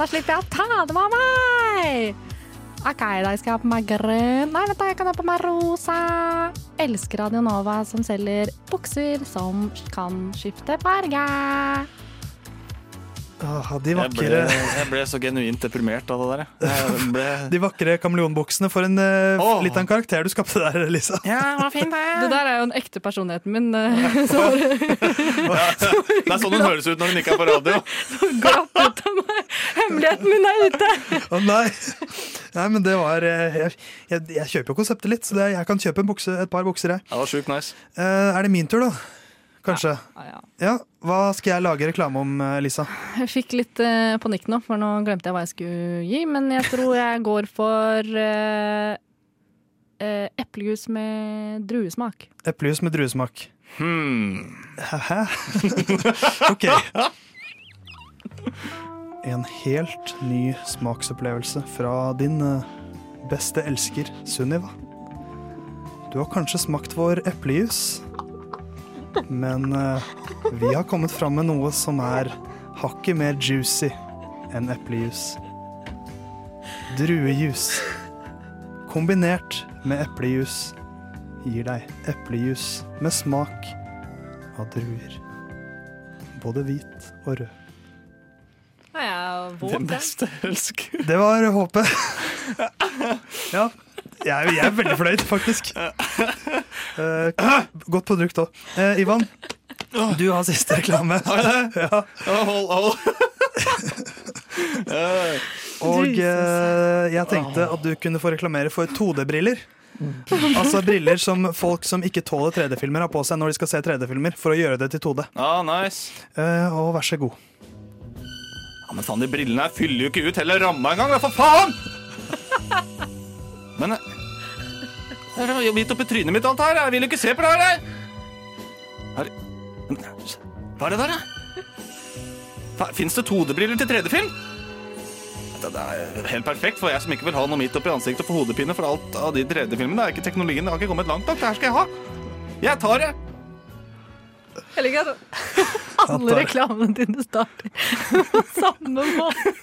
[SPEAKER 10] Da slipper jeg å ta dem av meg! OK, i dag skal jeg ha på meg grønn. Nei, vent da, jeg kan ha på meg rosa. Elsker Radio Nova som selger bukser som kan skifte farge.
[SPEAKER 11] Ah, de
[SPEAKER 9] Jeg ble,
[SPEAKER 11] vakre
[SPEAKER 9] jeg ble så genuint deprimert av det der. jeg. Jeg ble...
[SPEAKER 11] De vakre kameleonbuksene for en, eh, litt av en karakter du skapte der, Lisa.
[SPEAKER 10] Det der er jo den ekte personligheten min. eh, Sorry.
[SPEAKER 9] Det er sånn hun høres ut når hun ikke er på radio.
[SPEAKER 10] glapp ut av meg. Hemmeligheten min er ute.
[SPEAKER 11] Å nei. nei, men det var eh, Jeg, jeg, jeg kjøper jo konseptet litt, så det, jeg kan kjøpe en bukse, et par bukser, jeg.
[SPEAKER 9] Det var sjukt nice.
[SPEAKER 11] Eh, er det min tur, da? Kanskje. Ja, Hva skal jeg lage reklame om, eh, Lisa?
[SPEAKER 10] Jeg fikk litt eh, panikk nå, for nå glemte jeg hva jeg skulle gi. Men jeg tror jeg går for eh, eh, eplejus med druesmak.
[SPEAKER 11] Eplejus med druesmak.
[SPEAKER 9] Hmm.
[SPEAKER 11] Hæ? OK. En helt ny smaksopplevelse fra din eh, beste elsker, Sunniva. Du har kanskje smakt vår eplejus, men eh, vi har kommet fram med noe som er hakket mer juicy enn eplejus. Druejus kombinert med eplejus gir deg eplejus med smak av druer. Både hvit og rød.
[SPEAKER 10] Jeg er våt, jeg.
[SPEAKER 9] elsker.
[SPEAKER 11] Det var håpet. Ja. Jeg er, jeg er veldig fornøyd, faktisk. Eh, godt produkt òg. Ivan, du har siste reklame. Ja.
[SPEAKER 9] Hold, hold.
[SPEAKER 11] Og eh, jeg tenkte at du kunne få reklamere for 2D-briller. Altså briller som folk som ikke tåler 3D-filmer, har på seg når de skal se 3D-filmer, for å gjøre det til 2D.
[SPEAKER 9] Ah, nice.
[SPEAKER 11] Eh, og vær så god.
[SPEAKER 9] Ja, men faen, de brillene her fyller jo ikke ut hele ramma engang, da, for faen! Men eh, Det er jo midt oppi trynet mitt, alt her. Jeg vil jo ikke se på det her, jeg. Her- Men, Hva er det der, da? Fins det 2D-briller til 3D-film? Det det er helt perfekt for jeg som ikke vil ha noe midt oppi ansiktet og få hodepine for alt av de 3D-filmene. Det er ikke teknologien. Det har ikke kommet langt nok. Det her skal jeg ha. Jeg tar det.
[SPEAKER 10] Jeg liker at alle
[SPEAKER 9] tar-
[SPEAKER 10] reklamene dine starter på samme måte.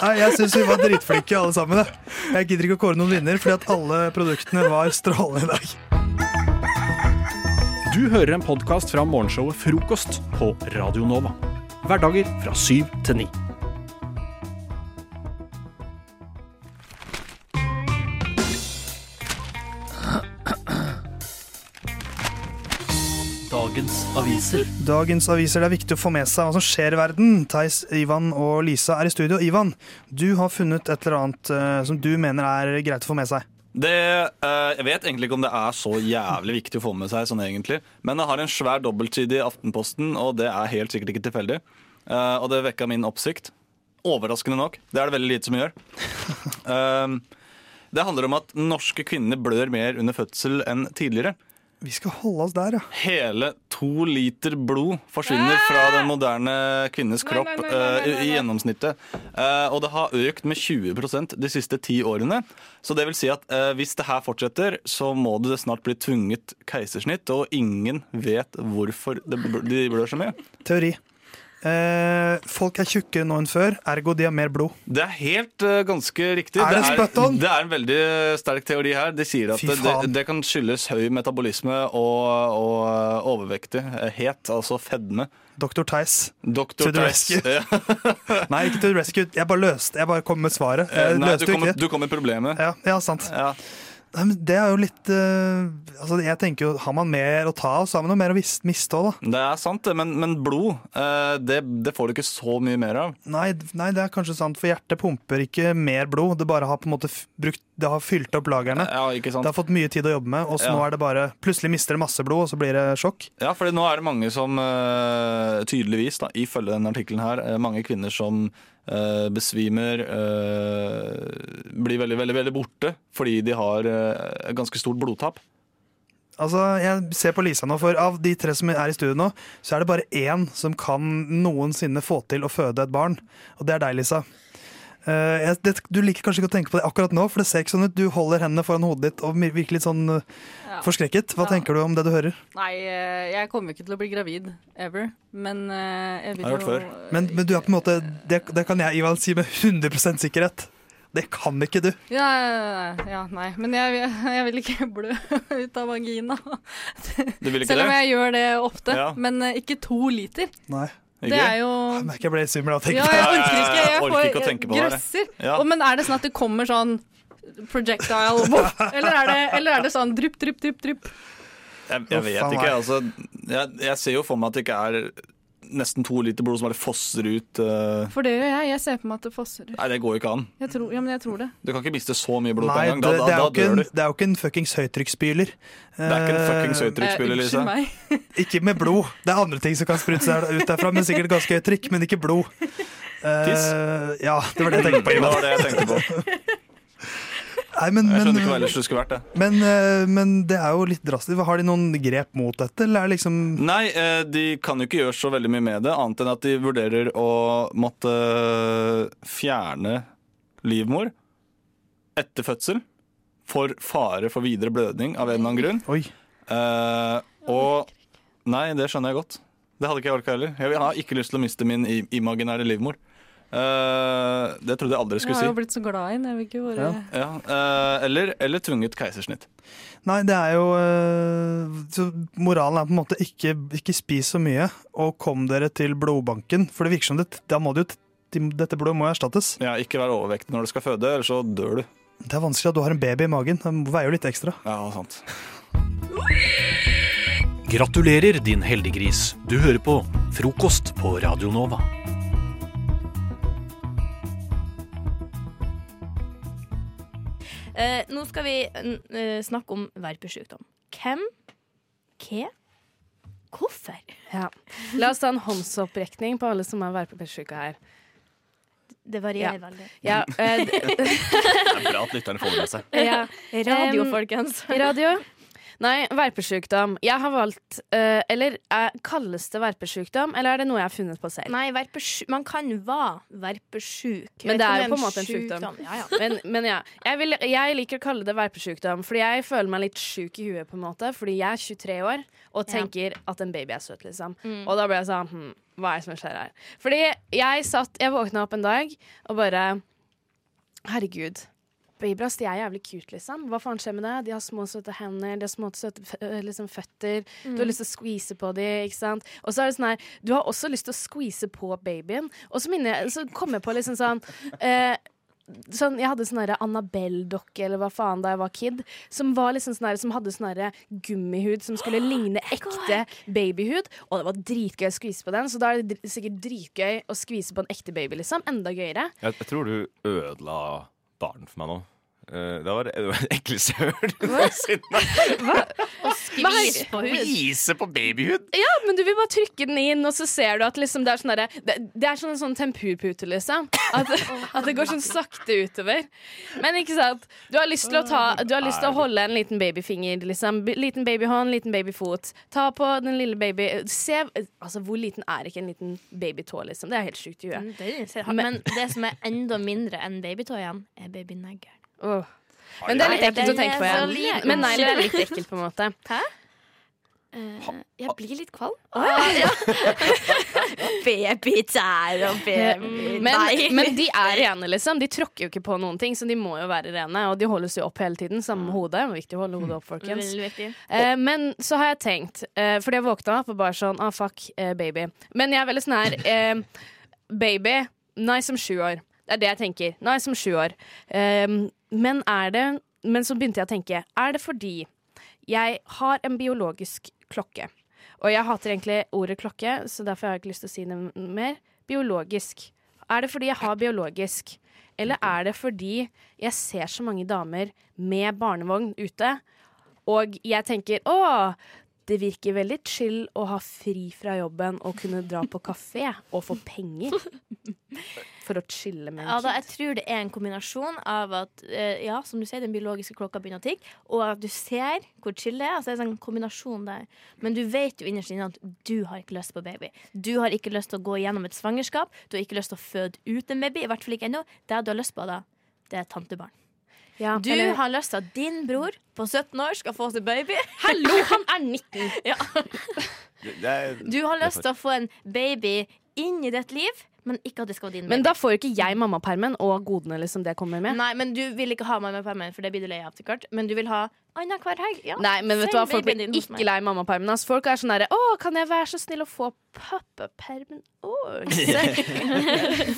[SPEAKER 11] Nei, jeg syns vi var dritflinke alle sammen. da. Jeg gidder ikke å kåre noen vinner, fordi at alle produktene var strålende i dag.
[SPEAKER 1] Du hører en podkast fra morgenshowet Frokost på Radio Nova. Hverdager fra syv til ni.
[SPEAKER 13] Dagens aviser.
[SPEAKER 11] Dagens aviser det er viktig å få med seg hva som skjer i verden. Theis, Ivan og Lisa er i studio. Ivan, du har funnet et eller annet eh, som du mener er greit å få med seg.
[SPEAKER 9] Det, eh, jeg vet egentlig ikke om det er så jævlig viktig å få med seg, sånn egentlig. men jeg har en svær dobbeltside i Aftenposten, og det er helt sikkert ikke tilfeldig. Eh, og det vekka min oppsikt. Overraskende nok. Det er det veldig lite som gjør. Eh, det handler om at norske kvinner blør mer under fødsel enn tidligere.
[SPEAKER 11] Vi skal holde oss der, ja.
[SPEAKER 9] Hele to liter blod forsvinner fra den moderne kvinnes kropp eh, i- i gjennomsnittet. Eh, og det har økt med 20 de siste ti årene. Så det vil si at eh, hvis det her fortsetter, så må det snart bli tvunget keisersnitt, og ingen vet hvorfor det bl de blør så mye.
[SPEAKER 11] Teori. Eh, folk er tjukkere nå enn før, ergo de har mer blod.
[SPEAKER 9] Det er helt eh, ganske riktig.
[SPEAKER 11] Er det spot on?
[SPEAKER 9] det er en veldig sterk teori her. De sier at
[SPEAKER 11] Fy
[SPEAKER 9] det,
[SPEAKER 11] faen.
[SPEAKER 9] det kan skyldes høy metabolisme og, eh, og overvektighet, altså fedme.
[SPEAKER 11] Dr. Theis.
[SPEAKER 9] Dr.
[SPEAKER 11] To the
[SPEAKER 9] Theis.
[SPEAKER 11] rescue.
[SPEAKER 9] Ja.
[SPEAKER 11] Nei, ikke til rescue. Jeg bare løste Jeg bare kom med svaret.
[SPEAKER 9] Eh,
[SPEAKER 11] Jeg
[SPEAKER 9] Nei,
[SPEAKER 11] løste
[SPEAKER 9] du
[SPEAKER 11] jo
[SPEAKER 9] kom,
[SPEAKER 11] ikke
[SPEAKER 9] med-
[SPEAKER 11] det.
[SPEAKER 9] du kom med problemet.
[SPEAKER 11] Ja, ja sant.
[SPEAKER 9] Ja.
[SPEAKER 11] Nei, men det er jo litt eh, Altså, jeg tenker jo Har man mer å ta av, så har man noe mer å vis- miste òg, da.
[SPEAKER 9] Det er sant, det, men, men blod eh, det, det får du ikke så mye mer av.
[SPEAKER 11] Nei, d- nei, det er kanskje sant, for hjertet pumper ikke mer blod. Det bare har på en måte f- brukt Det har fylt opp lagrene.
[SPEAKER 9] Ja, ikke sant?
[SPEAKER 11] Det har fått mye tid å jobbe med, og så
[SPEAKER 9] Ja.
[SPEAKER 11] nå er det bare Plutselig mister det masse blod, og så blir det sjokk.
[SPEAKER 9] Ja, fordi nå er det mange som eh, tydeligvis, da, ifølge denne artikkelen her, eh, mange kvinner som eh, besvimer, eh, blir veldig, veldig, veldig borte fordi de har eh, et ganske stort blodtap.
[SPEAKER 11] Altså, jeg ser på Lisa nå, for av de tre som er i studio nå, så er det bare én som kan noensinne få til å føde et barn, og det er deg, Lisa. Eh, jeg, det, du liker kanskje ikke å tenke på det akkurat nå, for det ser ikke sånn ut. Du holder hendene foran hodet ditt og vir- virker litt sånn eh,
[SPEAKER 5] Ja.
[SPEAKER 11] forskrekket. Hva
[SPEAKER 5] Ja.
[SPEAKER 11] tenker du om det du hører?
[SPEAKER 5] Nei, eh, jeg kommer jo ikke til å bli gravid ever, men eh, jeg vil jo
[SPEAKER 11] Men, men du er på en måte det, det kan jeg Ivan si med 100 sikkerhet. Det kan ikke du.
[SPEAKER 5] Ja, ja, nei. Men jeg, jeg vil ikke blø ut av vagina.
[SPEAKER 9] Du vil ikke
[SPEAKER 5] Selv om
[SPEAKER 9] det?
[SPEAKER 5] jeg gjør det ofte.
[SPEAKER 9] Ja.
[SPEAKER 5] Men eh, ikke to liter.
[SPEAKER 11] Nei.
[SPEAKER 5] Det er jo
[SPEAKER 11] Jeg merker jeg ble svimmel av å tenke
[SPEAKER 5] Ja, jeg orker ikke. Jeg, får
[SPEAKER 9] orker ikke å tenke på det her, jeg.
[SPEAKER 5] grøsser.
[SPEAKER 9] Ja.
[SPEAKER 5] Å, men er det sånn at det kommer sånn projectile voff, eller, er det, eller er det sånn drypp, drypp, drypp, drypp?
[SPEAKER 9] Jeg, jeg
[SPEAKER 11] Å,
[SPEAKER 9] vet
[SPEAKER 11] faen
[SPEAKER 9] ikke.
[SPEAKER 11] meg.
[SPEAKER 9] Altså, jeg, jeg ser jo for meg at det ikke er nesten to liter blod som bare fosser ut. eh.
[SPEAKER 5] For det gjør jeg. Jeg ser på meg at det fosser ut.
[SPEAKER 9] Nei, det går jo ikke an.
[SPEAKER 5] Jeg tror, ja, men jeg tror det.
[SPEAKER 9] Du kan ikke miste så mye blod på
[SPEAKER 11] Nei,
[SPEAKER 9] en gang.
[SPEAKER 11] det,
[SPEAKER 9] Da,
[SPEAKER 11] det, er
[SPEAKER 9] da,
[SPEAKER 11] jo
[SPEAKER 9] da
[SPEAKER 11] ikke en,
[SPEAKER 9] dør du.
[SPEAKER 11] det er jo ikke en fuckings høytrykksspyler.
[SPEAKER 9] Det er ikke en fuckings
[SPEAKER 11] Eh,
[SPEAKER 9] høytrykksspyler, Eh, unnskyld Lisa. meg.
[SPEAKER 11] ikke med blod. Det er andre ting som kan sprute seg ut derfra, men sikkert ganske høyt trykk, men ikke blod. Eh, Ja, det var det jeg tenkte på.
[SPEAKER 9] Det
[SPEAKER 11] Ivan.
[SPEAKER 9] var det jeg tenkte på.
[SPEAKER 11] Nei, men,
[SPEAKER 9] Jeg skjønner
[SPEAKER 11] men,
[SPEAKER 9] ikke hva ellers det skulle vært. det
[SPEAKER 11] men, eh, men det er jo litt drastisk. Har de noen grep mot dette, eller er det liksom
[SPEAKER 9] Nei, eh, de kan jo ikke gjøre så veldig mye med det, annet enn at de vurderer å måtte eh, fjerne livmor etter fødsel for fare for videre blødning av en eller annen grunn. Eh, og Nei, det skjønner jeg godt. Det hadde ikke jeg orka heller. Jeg har ikke lyst til å miste min i- imaginære livmor. Eh, det trodde jeg aldri jeg
[SPEAKER 5] Jeg
[SPEAKER 9] skulle
[SPEAKER 5] har jo
[SPEAKER 9] si.
[SPEAKER 5] blitt så glad i den. Jeg vil ikke bare
[SPEAKER 11] Ja.
[SPEAKER 9] Ja, eh, eller, eller tvunget keisersnitt.
[SPEAKER 11] Nei, det er jo eh, så Moralen er på en måte ikke, ikke spis så mye, og kom dere til blodbanken. For det virker som det, da må det jo, t- dette blodet må jo erstattes.
[SPEAKER 9] Ja, ikke være overvektig når du skal føde, ellers så dør du.
[SPEAKER 11] Det er vanskelig at du har en baby i magen. Den veier jo litt ekstra.
[SPEAKER 9] Ja, sant.
[SPEAKER 1] Gratulerer, din heldiggris. Du hører på Frokost på Radio Nova.
[SPEAKER 14] Eh, nå skal vi n- eh, snakke om verpesjukdom. Hvem? Hva? Hvorfor?
[SPEAKER 15] Ja. La oss ta en håndsopprekning på alle som er verpepestsyke her.
[SPEAKER 14] Det varierer
[SPEAKER 15] Ja.
[SPEAKER 14] veldig.
[SPEAKER 15] Ja, eh, d-
[SPEAKER 9] Det er bra at lytterne får det med seg.
[SPEAKER 15] ja.
[SPEAKER 14] Radio,
[SPEAKER 15] Em,
[SPEAKER 14] folkens.
[SPEAKER 15] Radio. Nei, verpesjukdom. Jeg har valgt eh, Eller eh, kalles det verpesjukdom, eller er det noe jeg har funnet på selv?
[SPEAKER 14] Nei, verpesju- man kan være verpesjuk. Jeg
[SPEAKER 15] Men det
[SPEAKER 14] vet
[SPEAKER 15] er
[SPEAKER 14] ikke
[SPEAKER 15] jo på
[SPEAKER 14] om
[SPEAKER 15] en måte en
[SPEAKER 14] sjukdom.
[SPEAKER 15] sjukdom.
[SPEAKER 14] Ja, ja.
[SPEAKER 15] Men, men ja. Jeg, vil, jeg liker å kalle det verpesjukdom, fordi jeg føler meg litt sjuk i huet, på en måte. Fordi jeg er 23 år og
[SPEAKER 14] Ja.
[SPEAKER 15] tenker at en baby er søt, liksom.
[SPEAKER 14] Mm.
[SPEAKER 15] Og da ble jeg sånn hm, Hva er det som skjer her? Fordi jeg satt Jeg våkna opp en dag og bare Herregud. Babybras de er jævlig cute, liksom. Hva faen skjer med det? De har små, søte hender, de har små, søte fø- øh, liksom, føtter.
[SPEAKER 14] Mm.
[SPEAKER 15] Du har lyst til å squeeze på dem, ikke sant. Og så er det sånn her, du har også lyst til å squeeze på babyen. Og så, minner jeg, så kom jeg på liksom sånn eh, Sånn, jeg hadde sånn derre Annabelle-dokke eller hva faen da jeg var kid. Som, var liksom sånn derre- som hadde sånn derre gummihud som skulle ligne ekte babyhud. Og det var dritgøy å skvise på den, så da er det dr- sikkert dritgøy å skvise på en ekte baby. liksom Enda gøyere.
[SPEAKER 16] Jeg, jeg tror du ødela barn for meg nå. Eh, det var det var det ekleste jeg har hørt
[SPEAKER 15] Hva?
[SPEAKER 16] noensinne.
[SPEAKER 15] Og
[SPEAKER 14] skvis på hud.
[SPEAKER 16] Skvise på babyhud!
[SPEAKER 15] Ja, men du vil bare trykke den inn, og så ser du at liksom det er sånn derre det, det er sånn en sånn tempurpute, liksom. At, at det går sånn sakte utover. Men ikke sant. Du har lyst til å, ta, du har lyst til å holde en liten babyfinger, liksom. B- Liten babyhånd, liten babyfot. Ta på den lille baby... Se Altså, hvor liten er ikke en liten babytå, liksom? Det er helt sjukt i huet.
[SPEAKER 14] Mm, Det ser hardt. Men det som er enda mindre enn babytå igjen, er babynegler.
[SPEAKER 15] Åh. Men det er litt
[SPEAKER 14] Nei,
[SPEAKER 15] ekkelt å
[SPEAKER 14] den
[SPEAKER 15] tenke på
[SPEAKER 14] er så
[SPEAKER 15] igjen.
[SPEAKER 14] liten.
[SPEAKER 15] Men negler er litt ekkelt, på en måte.
[SPEAKER 14] Hæ? Eh, jeg blir litt kvalm. Ah,
[SPEAKER 15] Babytær og
[SPEAKER 14] baby- Nei.
[SPEAKER 15] Eh, Men, men de er rene, liksom. De tråkker jo ikke på noen ting, så de må jo være rene. Og de holdes jo opp hele tiden, sammen med hodet. Det er Viktig å holde hodet opp, folkens.
[SPEAKER 14] Veldig viktig.
[SPEAKER 15] Eh, men så har jeg tenkt, eh, fordi jeg våkna opp og bare sånn ah, fuck, eh, baby. Men jeg er veldig sånn her eh, Baby, nice som sju år. Det er det jeg tenker. Nice som sju år. Eh, men er det Men så begynte jeg å tenke, er det fordi jeg har en biologisk klokke? Og jeg hater egentlig ordet klokke, så derfor har jeg ikke lyst til å si det m- mer. Biologisk. Er det fordi jeg har biologisk? Eller er det fordi jeg ser så mange damer med barnevogn ute? Og jeg tenker å, det virker veldig chill å ha fri fra jobben og kunne dra på kafé og få penger for å chille med
[SPEAKER 14] Ja,
[SPEAKER 15] en
[SPEAKER 14] da, jeg
[SPEAKER 15] kid.
[SPEAKER 14] tror det er en kombinasjon av at eh, ja, som du sier, den biologiske klokka begynner å tikke, og at du ser hvor chill det er. Altså, det er en sånn kombinasjon der. Men du vet jo innerst inne at du har ikke lyst på baby. Du har ikke lyst til å gå gjennom et svangerskap. Du har ikke lyst til å føde ut en baby. I hvert fall ikke ennå. Det du har lyst på da, det er tantebarn.
[SPEAKER 15] Ja,
[SPEAKER 14] du
[SPEAKER 15] eller-
[SPEAKER 14] har lyst til at din bror på 17 år skal få seg baby.
[SPEAKER 15] Hallo, han er 19!
[SPEAKER 14] ja. Du har lyst til å få en baby inn i ditt liv, men ikke at det skal være din baby.
[SPEAKER 15] Men da får jo ikke jeg mammapermen og godene liksom det kommer med.
[SPEAKER 14] Nei, men du vil ikke ha meg med permen, for det blir du lei av til kort. Men du vil ha annenhver helg. Ja.
[SPEAKER 15] Nei, men vet du hva,
[SPEAKER 14] Send
[SPEAKER 15] folk
[SPEAKER 14] babyen
[SPEAKER 15] blir
[SPEAKER 14] din hos
[SPEAKER 15] ikke
[SPEAKER 14] meg.
[SPEAKER 15] lei mammapermen. ass. Folk er sånn derre Å, kan jeg være så snill å få pappapermen òg?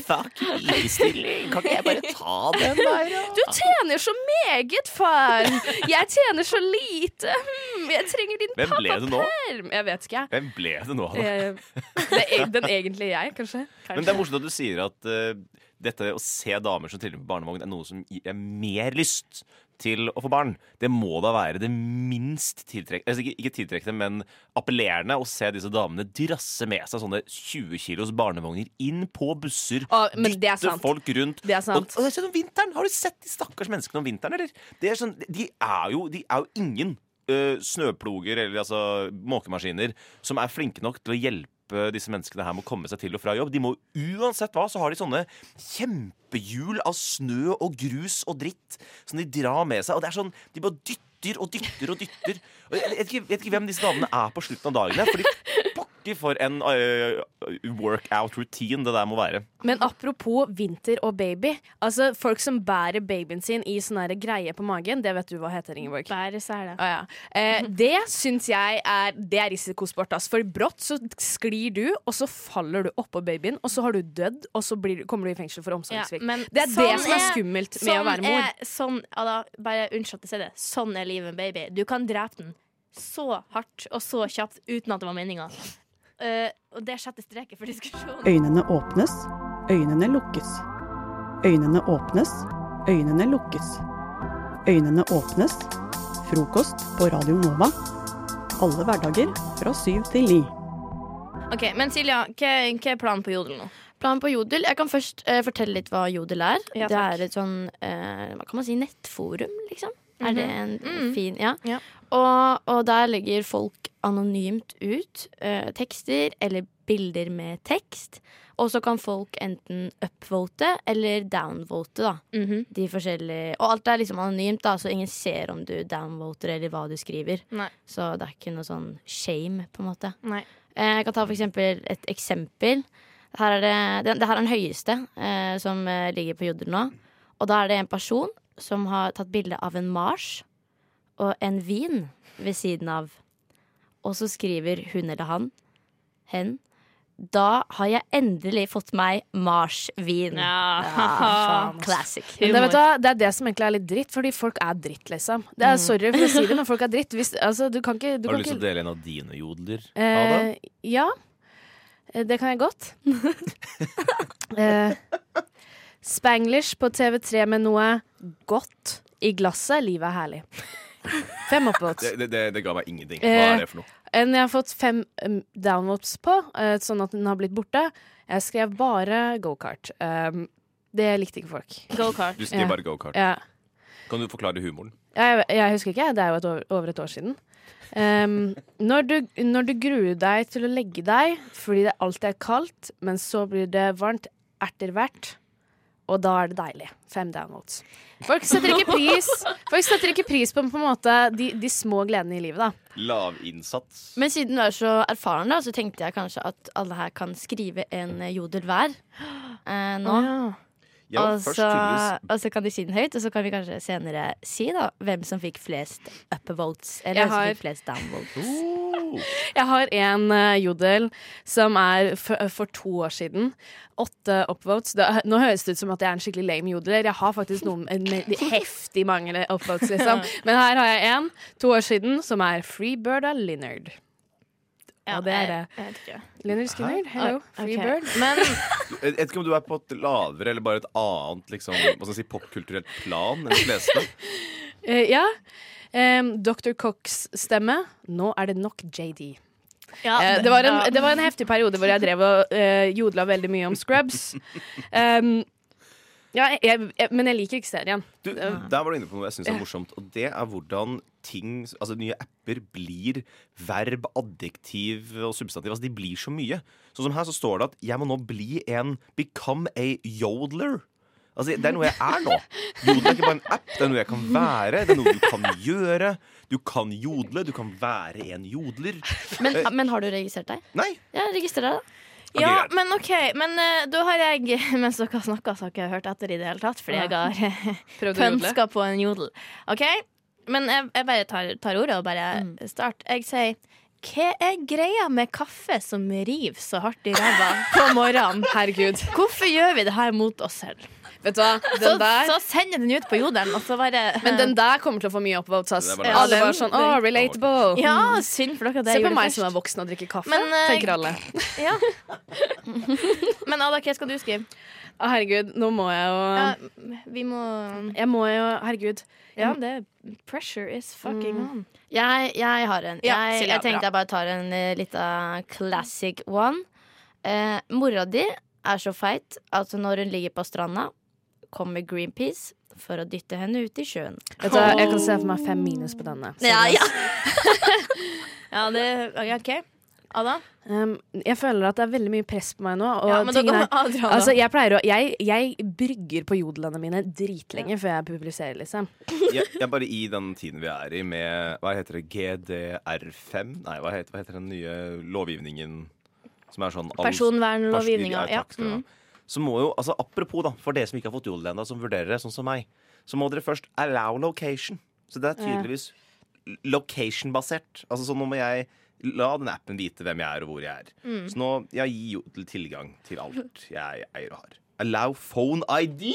[SPEAKER 16] Fuck likestilling! Kan ikke jeg bare ta den der, da?
[SPEAKER 15] Du tjener så meget, far! Jeg tjener så lite. Hmm, jeg trenger din
[SPEAKER 16] Hvem ble det nå?
[SPEAKER 15] pappaperm. Jeg vet ikke, jeg.
[SPEAKER 16] Hvem ble det nå? da?
[SPEAKER 15] Eh, det er eg- den egentlige jeg, kanskje. kanskje.
[SPEAKER 16] Men det er morsomt at du sier at eh, dette å se damer som triller på barnevogn, er noe som gir deg mer lyst til å få barn. Det må da være det minst tiltrekkende altså ikke, ikke tiltrekkende, men appellerende å se disse damene drasse med seg sånne 20 kilos barnevogner inn på busser,
[SPEAKER 15] Å, Ah, men det er
[SPEAKER 16] dytte
[SPEAKER 15] sant.
[SPEAKER 16] folk rundt.
[SPEAKER 15] Det er sant.
[SPEAKER 16] Og, og det er sånn om vinteren! Har du sett de stakkars menneskene om vinteren, eller? Det er sånn, de, er jo, de er jo ingen eh, snøploger eller altså, måkemaskiner som er flinke nok til å hjelpe disse menneskene her med å komme seg til og fra jobb. De må uansett hva, så har de sånne kjempehjul av snø og grus og dritt som de drar med seg. Og det er sånn, de bare dytter og dytter og dytter. Og jeg vet ikke, vet ikke hvem disse damene er på slutten av dagene. Fordi pokker for en eh, workout routine det der må være.
[SPEAKER 15] Men apropos vinter og baby. Altså Folk som bærer babyen sin i sånn her greie på magen, det vet du hva heter, Ingeborg.
[SPEAKER 14] Bæresele.
[SPEAKER 15] Ah, ja. eh,
[SPEAKER 14] Mhm.
[SPEAKER 15] det syns jeg er Det er risikosport. ass. For brått så sklir du, og så faller du oppå babyen, og så har du dødd, og så blir, du- kommer du i fengsel for omsorgssvikt.
[SPEAKER 14] Ja, men
[SPEAKER 15] det er
[SPEAKER 14] sånn
[SPEAKER 15] det som er skummelt med å
[SPEAKER 14] sånn
[SPEAKER 15] være mor.
[SPEAKER 14] Er, sånn, ja da, bare unnskyld at jeg sier det. Sånn er livet med en baby. Du kan drepe den så hardt og så kjapt uten at det var meninga. Eh, og det setter streket for diskusjonen.
[SPEAKER 17] Øynene åpnes, øynene lukkes. Øynene åpnes, øynene lukkes. Øynene åpnes. Frokost på Radio Nova. Alle hverdager fra syv til ni.
[SPEAKER 14] Ok, Men Silja, hva, hva er planen på Jodel nå?
[SPEAKER 18] Planen på Jodel. Jeg kan først eh, fortelle litt hva Jodel er.
[SPEAKER 14] Ja,
[SPEAKER 18] det
[SPEAKER 14] takk.
[SPEAKER 18] er et sånn eh, Hva kan man si? Nettforum, liksom. Er det en
[SPEAKER 14] Mhm. Mm.
[SPEAKER 18] fin Ja.
[SPEAKER 14] Ja.
[SPEAKER 18] Og, og der legger folk anonymt ut eh, tekster eller bilder med tekst. Og så kan folk enten upvote eller downvote, da.
[SPEAKER 14] Mm-hmm.
[SPEAKER 18] De forskjellige Og alt er liksom anonymt, da, så ingen ser om du downvoter eller hva du skriver.
[SPEAKER 14] Nei.
[SPEAKER 18] Så det er ikke noe sånn shame, på en måte.
[SPEAKER 14] Nei.
[SPEAKER 18] Eh, Jeg kan ta for eksempel et eksempel. Her er det, det, det her er den høyeste eh, som eh, ligger på Jodel nå. Og da er det en person som har tatt bilde av en Mars og en vin ved siden av. Og så skriver hun eller han hen. Da har jeg endelig fått meg Mars-vin.
[SPEAKER 15] Ah,
[SPEAKER 18] altså.
[SPEAKER 15] faen, ass.
[SPEAKER 18] Classic.
[SPEAKER 15] Men det, vet du, hva, det er det som egentlig er litt dritt, fordi folk er dritt, liksom. Det er,
[SPEAKER 18] Mm.
[SPEAKER 15] sorry for å si det, men folk er dritt. Hvis, altså, du kan ikke, du
[SPEAKER 16] Har
[SPEAKER 15] kan
[SPEAKER 16] du lyst til å
[SPEAKER 15] ikke
[SPEAKER 16] dele en av dine jodler? Ada?
[SPEAKER 15] Eh, ja. Eh, Det kan jeg godt. eh, Spanglish på TV3 med noe godt i glasset, livet er herlig. Fem oppvotes.
[SPEAKER 16] Det, det, det, det ga meg ingenting. Hva er det for noe?
[SPEAKER 15] Eh, En jeg har fått fem um, downvotes på, eh, sånn at den har blitt borte. Jeg skrev bare gokart. Um, det likte ikke folk.
[SPEAKER 14] Go-kart.
[SPEAKER 16] Du skrev bare go-kart.
[SPEAKER 15] Ja.
[SPEAKER 16] Kan du forklare humoren?
[SPEAKER 15] Jeg, jeg husker ikke, det er jo et over, over et år siden. Ehm, når, du, når du gruer deg til å legge deg fordi det alltid er kaldt, men så blir det varmt etter hvert, og da er det deilig. Fem downvotes. Folk setter ikke pris, folk setter ikke pris på, på en måte, de, de små gledene i livet, da.
[SPEAKER 16] Lavinnsats.
[SPEAKER 18] Men siden du er så erfaren, da, så tenkte jeg kanskje at alle her kan skrive en eh, jodel hver eh, nå.
[SPEAKER 16] Ja,
[SPEAKER 18] og,
[SPEAKER 16] først
[SPEAKER 18] så,
[SPEAKER 16] tydeligvis-
[SPEAKER 18] og så kan de si den høyt, og så kan vi kanskje senere si da hvem som fikk flest upvotes.
[SPEAKER 15] Jeg
[SPEAKER 18] Eller hvem
[SPEAKER 15] har-
[SPEAKER 18] som fikk flest downvotes.
[SPEAKER 16] Oh.
[SPEAKER 15] Jeg har en eh, jodel som er for, for to år siden. Åtte upvotes. Det, nå høres det ut som at jeg er en skikkelig lame jodeler. Jeg har faktisk noen en, en heftig mange upvotes, liksom. Men her har jeg en to år siden som er Freebird av Linnard. Og det er det. Linnard Skinner, hello.
[SPEAKER 18] Hæ?
[SPEAKER 15] Freebird.
[SPEAKER 18] Ok.
[SPEAKER 15] Men
[SPEAKER 16] Jeg vet ikke om du er på et lavere eller bare et annet liksom, hva skal jeg si, popkulturelt plan enn de fleste.
[SPEAKER 15] eh, ja. Em, Dr. Cox stemme. Nå er det nok JD.
[SPEAKER 14] Ja,
[SPEAKER 15] Eh, det,
[SPEAKER 14] det-
[SPEAKER 15] var en,
[SPEAKER 14] ja.
[SPEAKER 15] det var en heftig periode hvor jeg drev og eh, jodla veldig mye om Scrubs. Um, ja, jeg, jeg, men jeg liker ikke serien.
[SPEAKER 16] Du, der var du inne på noe jeg syns er morsomt, og det er hvordan ting, altså nye apper blir verb, adjektiv og substantiv. Altså de blir så mye. Sånn som her så står det at jeg må nå bli en Become a yodeler. Altså, det er noe jeg er nå. Jodel er ikke bare en app, det er noe jeg kan være. Det er noe du kan gjøre. Du kan jodle, du kan være en jodler.
[SPEAKER 18] Men,
[SPEAKER 16] Eh,
[SPEAKER 18] men har du registrert deg?
[SPEAKER 16] Nei.
[SPEAKER 18] Ja, registrer deg, da.
[SPEAKER 16] Ok,
[SPEAKER 14] Ja,
[SPEAKER 16] greit.
[SPEAKER 14] men OK. Men eh, da har jeg Mens dere har snakka, så har ikke jeg hørt etter i det hele tatt. Fordi jeg
[SPEAKER 15] Ja.
[SPEAKER 14] har
[SPEAKER 15] Prøvd å jodle.
[SPEAKER 14] pønska på en jodel. OK? Men jeg, jeg bare tar, tar ordet og bare
[SPEAKER 15] Mm.
[SPEAKER 14] start. Jeg sier hva er greia med kaffe som river så hardt i ræva på morgenen?
[SPEAKER 15] Herregud
[SPEAKER 14] Hvorfor gjør vi det her mot oss selv?
[SPEAKER 15] Vet du hva, den
[SPEAKER 14] så,
[SPEAKER 15] der-
[SPEAKER 14] så sender den ut på jodelen, og så bare
[SPEAKER 15] Men den der kommer til å få mye upvotes. ass.
[SPEAKER 14] Det er bare-
[SPEAKER 15] Alle
[SPEAKER 14] Ja,
[SPEAKER 15] var
[SPEAKER 14] den-
[SPEAKER 15] sånn Å, relatable. Mm.
[SPEAKER 14] Ja, synd for dere at jeg
[SPEAKER 15] Se på
[SPEAKER 14] gjorde
[SPEAKER 15] meg
[SPEAKER 14] det
[SPEAKER 15] som
[SPEAKER 14] først.
[SPEAKER 15] er voksen og drikker kaffe,
[SPEAKER 14] Men, eh,
[SPEAKER 15] tenker alle.
[SPEAKER 14] Ja. Men Ada, hva skal du skrive?
[SPEAKER 15] Å, herregud, nå må jeg jo
[SPEAKER 14] vi må
[SPEAKER 15] Jeg må jo Herregud. Mm.
[SPEAKER 14] Ja, det Pressure is fucking on.
[SPEAKER 18] Jeg, jeg har en.
[SPEAKER 14] Ja,
[SPEAKER 18] jeg,
[SPEAKER 14] Silje,
[SPEAKER 18] jeg tenkte
[SPEAKER 14] bra.
[SPEAKER 18] jeg bare tar en uh, lita classic one. Eh, mora di er så feit at når hun ligger på stranda, kommer Greenpeace for å dytte henne ut i sjøen.
[SPEAKER 15] Vet du, hva, jeg kan se for meg fem minus på denne.
[SPEAKER 18] Ja, ja.
[SPEAKER 14] ja, det ja, OK. Ada?
[SPEAKER 15] Um, jeg føler at det er veldig mye press på meg nå. Og
[SPEAKER 14] Ja, men da
[SPEAKER 15] ting er-
[SPEAKER 14] går Adrian, da.
[SPEAKER 15] altså, jeg, pleier å, jeg, jeg brygger på jodelene mine dritlenge før jeg publiserer, liksom.
[SPEAKER 16] Jeg, jeg bare i den tiden vi er i med Hva heter det? GDR5? Nei, hva heter, hva heter den nye lovgivningen som er sånn all-
[SPEAKER 14] Personvernlovgivninga.
[SPEAKER 16] Pers- Ja, takk skal du
[SPEAKER 2] Mm.
[SPEAKER 16] ha. Så må jo, altså Apropos, da, for dere som ikke har fått jodel ennå, som vurderer det, sånn som meg, så må dere først allow location. Så det er tydeligvis l- location-basert. Altså sånn nå må jeg la den appen vite hvem jeg er, og hvor jeg er.
[SPEAKER 14] Mm.
[SPEAKER 16] Så nå jeg gir jodel tilgang til alt jeg eier og har. Allow phone ID!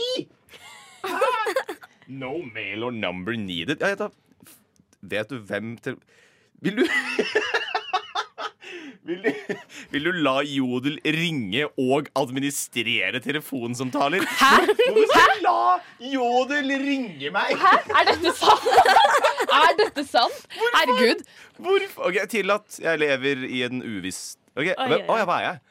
[SPEAKER 16] No mail or number needed. Ja, jeg tar, vet du hvem til Vil du Vil du, vil du la Jodel ringe og administrere telefonsamtaler? Hæ? Hvorfor skal du la Jodel ringe meg?
[SPEAKER 5] Hæ? Er dette sant? Er dette sant? Herregud.
[SPEAKER 16] Hvorfor? Ok, Tillat jeg lever i en uviss Ok,
[SPEAKER 15] Oi,
[SPEAKER 16] hvem,
[SPEAKER 15] oi, oi.
[SPEAKER 16] å, ja, Hva er jeg?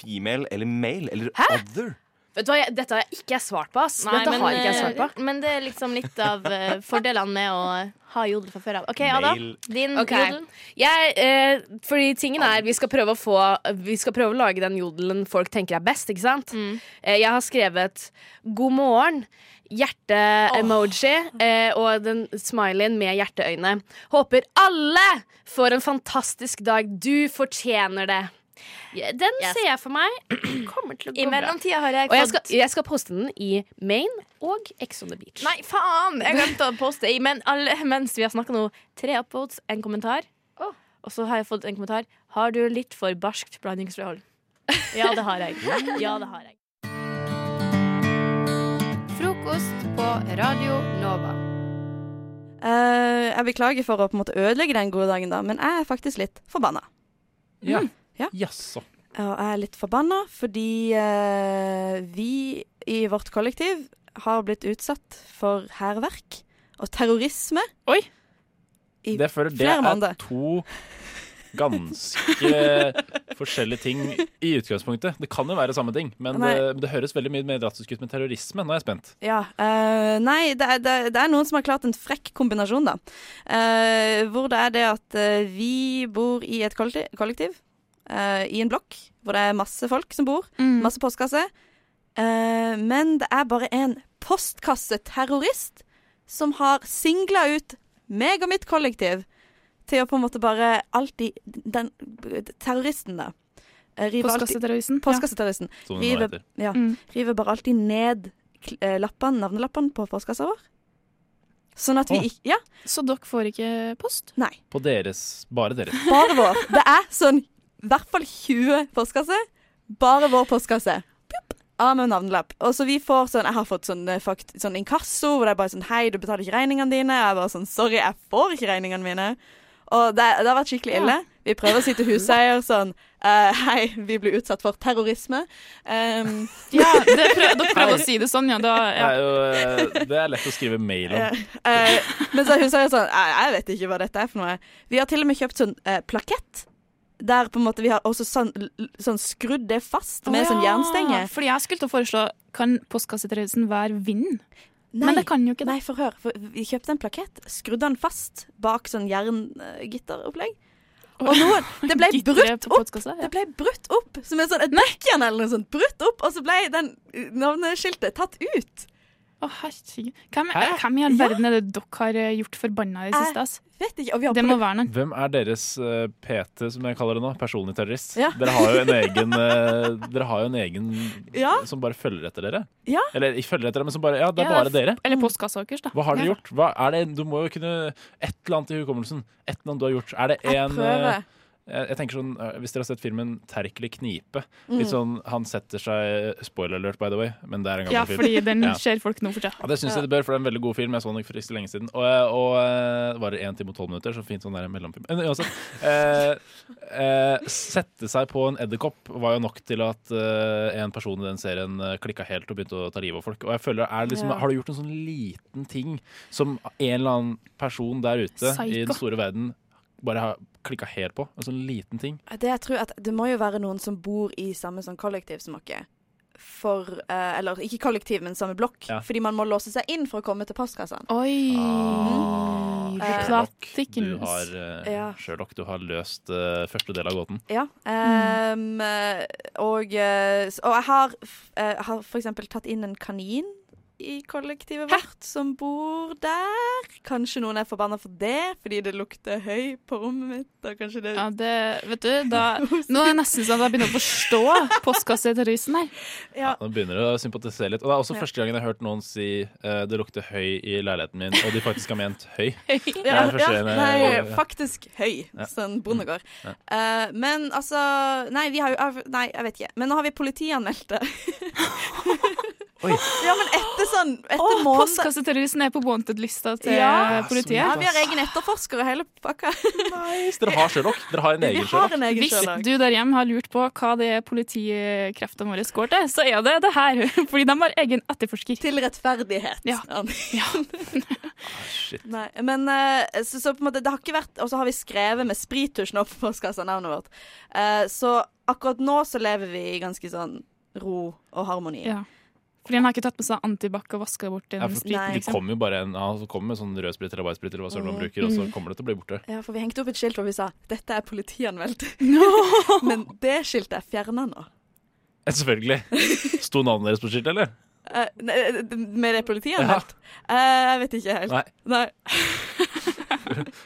[SPEAKER 16] Female eller male eller other?
[SPEAKER 15] Vet du hva, jeg, Dette har jeg ikke svart på, ass.
[SPEAKER 14] Nei,
[SPEAKER 15] dette
[SPEAKER 14] men,
[SPEAKER 15] har ikke jeg svart på.
[SPEAKER 14] eh, men det er liksom litt av eh, fordelene med å ha jodel fra før av. OK, Ada.
[SPEAKER 15] Mail.
[SPEAKER 14] Din
[SPEAKER 15] Ok.
[SPEAKER 14] jodel.
[SPEAKER 15] Jeg, eh, fordi tingen er vi skal, prøve å få, vi skal prøve å lage den jodelen folk tenker er best, ikke sant?
[SPEAKER 14] Mm.
[SPEAKER 15] Eh, jeg har skrevet 'god morgen'. Hjerte-emoji eh, og den smileyen med hjerteøyne. Håper alle får en fantastisk dag. Du fortjener det. Ja, Den ser jeg for meg kommer til å gå
[SPEAKER 14] I mellomtida har jeg
[SPEAKER 15] Og jeg
[SPEAKER 14] fått
[SPEAKER 15] skal, jeg skal poste den i Maine og Ex on the Beach.
[SPEAKER 14] Nei, faen! Jeg glemte å poste i men alle, mens vi har snakka nå. Tre upvotes, en kommentar. Og så har jeg fått en kommentar. Har du litt for barskt blandingsforhold? Ja, det har jeg. Ja, det har jeg.
[SPEAKER 19] Frokost på Radio Nova.
[SPEAKER 2] Eh, jeg beklager for å på en måte ødelegge den gode dagen, da, men jeg er faktisk litt Mm. forbanna.
[SPEAKER 7] Ja.
[SPEAKER 2] Ja.
[SPEAKER 7] Jaså.
[SPEAKER 2] Og jeg er litt forbanna fordi eh, vi i vårt kollektiv har blitt utsatt for hærverk og terrorisme.
[SPEAKER 14] Oi!
[SPEAKER 2] I
[SPEAKER 7] Det, føler, det
[SPEAKER 2] flere
[SPEAKER 7] er
[SPEAKER 2] måneder.
[SPEAKER 7] to ganske forskjellige ting i utgangspunktet. Det kan jo være samme ting, men
[SPEAKER 2] Nei.
[SPEAKER 7] det, det høres veldig mye mer drastisk ut med terrorisme. Nå er jeg spent.
[SPEAKER 2] Ja. eh, nei, det er, det, er- det er noen som har klart en frekk kombinasjon, da. Eh, hvor det er det at eh, vi bor i et kollektiv, kollektiv eh, i en blokk, hvor det er masse folk som bor.
[SPEAKER 10] Mm.
[SPEAKER 2] Masse postkasse. Eh, men det er bare en postkasseterrorist som har singla ut meg og mitt kollektiv til å på en måte bare alltid Den terroristen, da. eh, river alltid-
[SPEAKER 15] Postkasseterroristen, ja.
[SPEAKER 2] Postkasseterroristen.
[SPEAKER 15] Som den nå
[SPEAKER 2] River,
[SPEAKER 15] heter.
[SPEAKER 2] ja,
[SPEAKER 15] Mm.
[SPEAKER 2] river bare alltid ned kl- eh, lappene, navnelappene på postkassa vår. Sånn at vi
[SPEAKER 7] Å.
[SPEAKER 2] ikke Ja,
[SPEAKER 15] Så dere får ikke post?
[SPEAKER 2] Nei.
[SPEAKER 7] På deres. Bare deres.
[SPEAKER 2] Bare vår. Det er sånn i hvert fall 20 postkasser. Bare vår postkasse. Pjupp, Av med navnelapp. Og så vi får sånn Jeg har fått sånn, eh, fakt, sånn inkasso hvor det er bare sånn Hei, du betaler ikke regningene dine. Jeg er bare sånn Sorry, jeg får ikke regningene mine. Og det, det har vært skikkelig ille. Vi prøver å si til huseier sånn eh, Hei, vi blir utsatt for terrorisme. Um,
[SPEAKER 19] Ja, det prøv, dere prøver å si det sånn, ja. Da,
[SPEAKER 7] Det
[SPEAKER 19] ja.
[SPEAKER 7] er, jo, eh, det er lett å skrive mail
[SPEAKER 2] Ja.
[SPEAKER 7] om.
[SPEAKER 2] Eh, men så hun sa jo sånn Jeg jeg vet ikke hva dette er for noe. Vi har til og med kjøpt sånn eh, plakett. Der på en måte vi har også sånn, l- sånn skrudd det fast med
[SPEAKER 19] Å
[SPEAKER 2] sånn
[SPEAKER 19] ja,
[SPEAKER 2] jernstenge.
[SPEAKER 19] Fordi jeg skulle til å foreslå Kan postkasseterroristen være vinden?
[SPEAKER 2] Nei.
[SPEAKER 19] Men det kan jo ikke det.
[SPEAKER 2] Nei, for hør. For vi kjøpte en plakett, skrudde den fast bak sånn jerngitteropplegg. Og noen, det ble brutt opp! Det ble brutt opp som en sånn et dekkjern eller noe sånt. Brutt opp, og så ble den eh, navneskiltet tatt ut.
[SPEAKER 19] Å, herregud. Hvem, hvem i all verden er det dere har eh, gjort forbanna i det siste? ass?
[SPEAKER 2] Vet ikke, og vi har
[SPEAKER 19] Det må være noen.
[SPEAKER 7] Hvem er deres eh, PT, som jeg kaller det nå? Personlig terrorist?
[SPEAKER 2] Ja.
[SPEAKER 7] Dere har jo en egen, eh, dere har jo en egen
[SPEAKER 2] Ja.
[SPEAKER 7] som bare følger etter dere.
[SPEAKER 2] Ja.
[SPEAKER 7] Eller ikke følger etter dere, men som bare Ja, det er
[SPEAKER 19] Ja,
[SPEAKER 7] bare dere.
[SPEAKER 19] Eller postkassa deres, da.
[SPEAKER 7] Hva har dere
[SPEAKER 19] Ja.
[SPEAKER 7] gjort? Hva er det, du må jo kunne et eller annet i hukommelsen. Et eller annet du har gjort. Er det en
[SPEAKER 19] prøver.
[SPEAKER 7] eh, jeg jeg tenker sånn, eh, Hvis dere har sett filmen 'Terkel i knipe'
[SPEAKER 19] Mm.
[SPEAKER 7] Litt sånn, Han setter seg eh, Spoiler alert, by the way, men det er en gammel
[SPEAKER 19] Ja,
[SPEAKER 7] film.
[SPEAKER 19] fordi den
[SPEAKER 7] Ja.
[SPEAKER 19] ser folk nå for tida.
[SPEAKER 7] Ja, det syns jeg det bør, for det er en veldig god film. Jeg så den for ikke så lenge siden. Og, og eh, varer 1 time og 12 minutter, så fint sånn der mellomfilm. Men uansett. eh, eh, sette seg på en edderkopp var jo nok til at eh, en person i den serien eh, klikka helt og begynte å ta livet av folk. Og jeg føler, er det liksom,
[SPEAKER 19] Ja.
[SPEAKER 7] Har du gjort en sånn liten ting som en eller annen person der ute i
[SPEAKER 2] Psycho.
[SPEAKER 7] den store verden bare har klikka helt på? En sånn liten ting.
[SPEAKER 2] Det jeg tror at det må jo være noen som bor i samme sånn kollektiv som dere. For, eh, eller ikke kollektiv, men samme blokk.
[SPEAKER 7] Ja.
[SPEAKER 2] Fordi man må låse seg inn for å komme til postkassene.
[SPEAKER 19] Oi!
[SPEAKER 2] Eh,
[SPEAKER 7] Sherlock, Ah, du har, eh,
[SPEAKER 2] Ja.
[SPEAKER 7] Sherlock, du har løst eh, første del av gåten.
[SPEAKER 2] Ja.
[SPEAKER 19] Mm.
[SPEAKER 2] ehm, eh, og, eh, s- og jeg har, f- eh, jeg har for eksempel tatt inn en kanin i kollektivet vårt som bor der. Kanskje noen er forbanna for det, fordi det lukter høy på rommet mitt. Og kanskje det
[SPEAKER 19] Ja, det, vet du, da, nå er det nesten sånn at jeg begynner å forstå postkasseterroristen her.
[SPEAKER 2] Ja.
[SPEAKER 7] Nå begynner du å sympatisere litt. Og det er også
[SPEAKER 19] Ja.
[SPEAKER 7] første gangen jeg har hørt noen si eh, det lukter høy i leiligheten min, og de faktisk har ment høy. Det
[SPEAKER 2] Ja,
[SPEAKER 7] er første
[SPEAKER 2] ja,
[SPEAKER 7] gangen jeg-
[SPEAKER 2] nei, faktisk høy,
[SPEAKER 7] Ja.
[SPEAKER 2] sånn bondegård.
[SPEAKER 7] Ja.
[SPEAKER 2] Eh, men altså Nei, vi har jo Nei, jeg vet ikke. Men nå har vi politianmeldt det. Ja, men etter sånn etter måneder-
[SPEAKER 19] Postkasseterroristen er på wanted-lista til
[SPEAKER 2] Ja.
[SPEAKER 19] eh, politiet.
[SPEAKER 2] Ja, vi har egen etterforsker og hele pakka.
[SPEAKER 7] Dere har Sherlock. Dere har en egen Sherlock.
[SPEAKER 19] Hvis du der hjemme har lurt på hva det er politikreftene våre går til, så er det det her. Fordi de har egen etterforsker.
[SPEAKER 2] Til rettferdighet.
[SPEAKER 19] Ja.
[SPEAKER 2] Nei, men eh, så, så på en måte, det har ikke vært Og så har vi skrevet med sprittusj nå på postkassa navnet vårt. Eh, så akkurat nå så lever vi i ganske sånn ro og harmoni.
[SPEAKER 19] Ja. Fordi han har ikke tatt med seg antibac og vaska bort
[SPEAKER 7] Ja,
[SPEAKER 19] den
[SPEAKER 7] for
[SPEAKER 19] spriten.
[SPEAKER 7] det
[SPEAKER 19] Liksom.
[SPEAKER 7] kommer jo bare en ja, så kommer sånn rødsprit eller hvitsprit eller hva søren man
[SPEAKER 2] Mm.
[SPEAKER 7] bruker, og så
[SPEAKER 2] Mm.
[SPEAKER 7] kommer det til å bli borte.
[SPEAKER 2] Ja, for vi hengte opp et skilt hvor vi sa 'dette er politianmeldt'. Men det skiltet er fjerna nå.
[SPEAKER 7] Eh, Selvfølgelig. Sto navnet deres på skiltet, eller?
[SPEAKER 2] Eh, ne- med det politianmeldt? Eh, jeg vet ikke helt.
[SPEAKER 7] Nei.
[SPEAKER 2] Nei.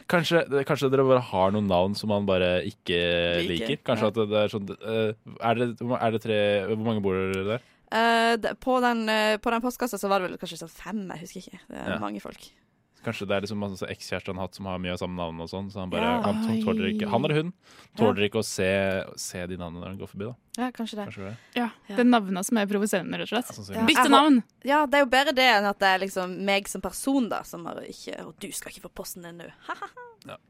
[SPEAKER 7] Kanskje, det- kanskje dere bare har noen navn som man bare ikke
[SPEAKER 2] Liker.
[SPEAKER 7] liker? Kanskje at det er sånn eh, Er det, er det tre Hvor mange bor dere der?
[SPEAKER 2] Eh, d- på, den, eh, på den postkassa så var det vel kanskje sånn fem, jeg husker ikke. Det er
[SPEAKER 7] Ja.
[SPEAKER 2] mange folk.
[SPEAKER 7] Kanskje det er liksom masse ekskjæreste han har hatt som har mye av samme navn og sånn, så han bare
[SPEAKER 2] Ja.
[SPEAKER 7] han, han, tåler ikke, han eller hun
[SPEAKER 2] Ja.
[SPEAKER 7] tåler ikke å se, se de navnene når han går forbi, da.
[SPEAKER 2] Ja, kanskje det.
[SPEAKER 7] Kanskje det.
[SPEAKER 19] Ja, det er navnene som er provoserende, rett og slett.
[SPEAKER 2] Ja, jeg
[SPEAKER 19] Bytte
[SPEAKER 2] hå-
[SPEAKER 19] navn!
[SPEAKER 2] Ja, det er jo bedre det enn at det er liksom meg som person, da, som har ikke Og du skal ikke få posten din nå. Ha-ha.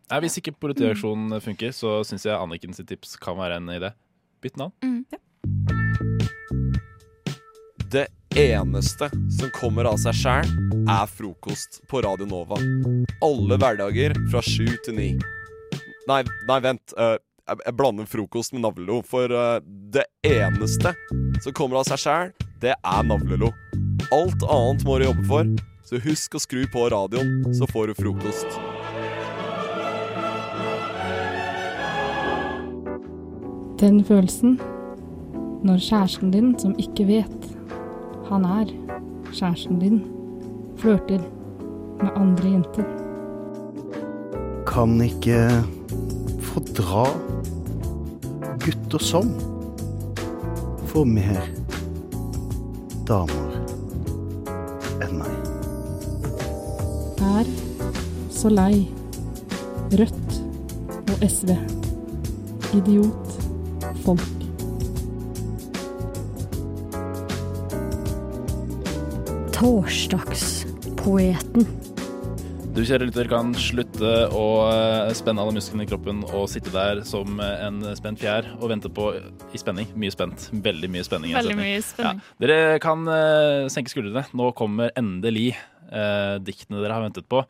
[SPEAKER 7] Nei, hvis ikke politiaksjonen funker, så syns jeg Anniken sitt tips
[SPEAKER 2] Mm,
[SPEAKER 7] kan være en idé. Bytt navn.
[SPEAKER 19] Mm.
[SPEAKER 2] Ja.
[SPEAKER 9] Det
[SPEAKER 20] eneste som kommer av seg sjæl, er frokost på Radio Nova. Alle hverdager fra sju til ni. Nei, nei, vent. eh, jeg, jeg blander frokost med navlelo, for eh, det eneste som kommer av seg sjæl, det er navlelo. Alt annet må du jobbe for, så husk å skru på radioen, så får du frokost.
[SPEAKER 21] Den følelsen når kjæresten din, som ikke vet han er kjæresten din, flørter med andre jenter.
[SPEAKER 22] Kan ikke fordra gutter som får mer damer enn meg.
[SPEAKER 21] Er så lei Rødt og SV. Idiot folk.
[SPEAKER 23] Torsdagspoeten.
[SPEAKER 7] Du kjære lytter kan slutte å eh, spenne alle musklene i kroppen og sitte der som eh, en spent fjær og vente på i spenning. Mye spent. Veldig mye spenning. i en
[SPEAKER 19] Veldig
[SPEAKER 7] setning.
[SPEAKER 19] mye spenning.
[SPEAKER 7] Ja. Dere kan eh, senke skuldrene. Nå kommer endelig eh, diktene dere har ventet på.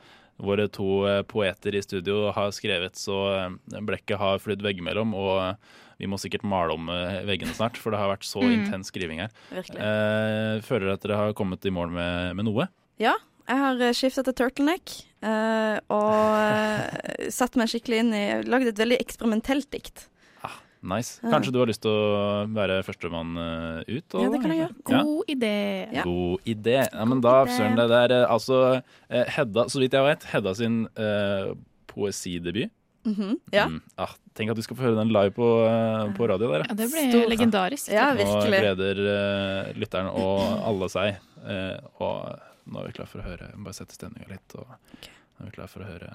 [SPEAKER 7] Våre to eh, poeter i studio har skrevet så eh, blekket har flydd veggimellom. Og eh, vi må sikkert male om eh, veggene snart, for det har vært så
[SPEAKER 14] Mm.
[SPEAKER 7] intens skriving her.
[SPEAKER 2] Virkelig.
[SPEAKER 7] Eh, føler dere at dere har kommet i mål med, med noe?
[SPEAKER 2] Ja, jeg har eh, skiftet til turtleneck eh, og eh, satt meg skikkelig inn i Lagd et veldig eksperimentelt dikt.
[SPEAKER 7] Nice.
[SPEAKER 2] Ja.
[SPEAKER 7] Kanskje du har lyst til å være førstemann eh, ut?
[SPEAKER 19] Ja, det kan jeg gjøre.
[SPEAKER 7] Ja.
[SPEAKER 19] God idé.
[SPEAKER 7] God idé. Ja, men da,
[SPEAKER 19] idé.
[SPEAKER 7] søren, det der eh, Altså, eh, Hedda, så vidt jeg vet, Hedda sin eh, poesidebut.
[SPEAKER 2] Mhm, Ja.
[SPEAKER 7] Mm. Ah, tenk at du skal få høre den live på, eh, på radio der,
[SPEAKER 19] Ja, det ble
[SPEAKER 2] Stor-
[SPEAKER 19] legendarisk.
[SPEAKER 2] Ja,
[SPEAKER 7] Nå
[SPEAKER 2] virkelig.
[SPEAKER 7] gleder eh, lytteren og alle seg. eh, og nå er vi klar for å høre. Jeg må bare sette stemninga litt. Og nå er vi klar for å høre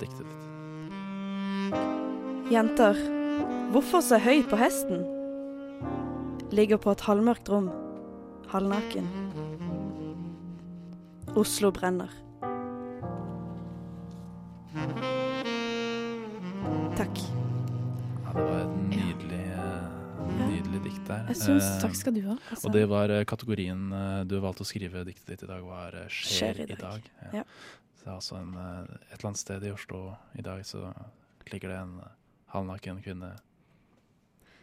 [SPEAKER 7] diktet ditt.
[SPEAKER 2] Jenter, hvorfor så høy på hesten? Ligger på et halvmørkt rom, halvnaken. Oslo brenner. Takk.
[SPEAKER 7] Ja, det var et nydelig, eh, nydelig dikt der.
[SPEAKER 2] Jeg syns-
[SPEAKER 7] Eh,
[SPEAKER 2] Takk skal du ha, altså.
[SPEAKER 7] Og det var eh, kategorien eh, du valgte å skrive diktet ditt i dag, var eh, 'Skjer, i dag'. Ja.
[SPEAKER 2] Ja.
[SPEAKER 7] Så det er altså en, eh, et eller annet sted i Oslo i dag så ligger det en eh, halvnaken kvinne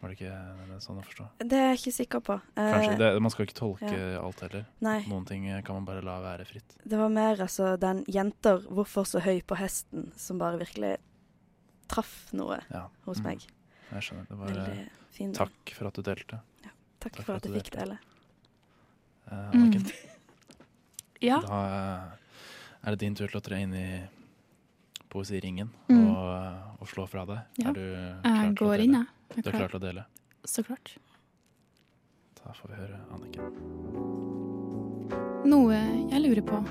[SPEAKER 7] Var det ikke eh, sånn å forstå?
[SPEAKER 2] Det er jeg ikke sikker på. Eh,
[SPEAKER 7] Kanskje, det, Man skal ikke tolke
[SPEAKER 2] ja.
[SPEAKER 7] alt heller.
[SPEAKER 2] Nei.
[SPEAKER 7] Noen ting eh, kan man bare la være fritt.
[SPEAKER 2] Det var mer altså den 'jenter, hvorfor så høy på hesten?' som bare virkelig traff noe
[SPEAKER 7] Ja.
[SPEAKER 2] hos
[SPEAKER 7] Mm.
[SPEAKER 2] meg.
[SPEAKER 7] Jeg skjønner. Det var, eh,
[SPEAKER 2] Veldig fin.
[SPEAKER 7] takk for at du delte.
[SPEAKER 2] Takk, for at jeg fikk dele.
[SPEAKER 7] Eh,
[SPEAKER 2] Mm.
[SPEAKER 7] Anniken.
[SPEAKER 19] Ja.
[SPEAKER 7] Da eh, er det din tur til å tre inn i poesiringen
[SPEAKER 19] Mm.
[SPEAKER 7] og, eh, og slå fra deg.
[SPEAKER 19] Ja.
[SPEAKER 7] Er du klar
[SPEAKER 19] Jeg
[SPEAKER 7] til å
[SPEAKER 19] går inn,
[SPEAKER 7] dele?
[SPEAKER 19] jeg. Jeg
[SPEAKER 7] Du er klar
[SPEAKER 19] klar.
[SPEAKER 7] til å dele?
[SPEAKER 19] Så klart.
[SPEAKER 7] Da får vi høre Anniken.
[SPEAKER 19] Noe jeg lurer på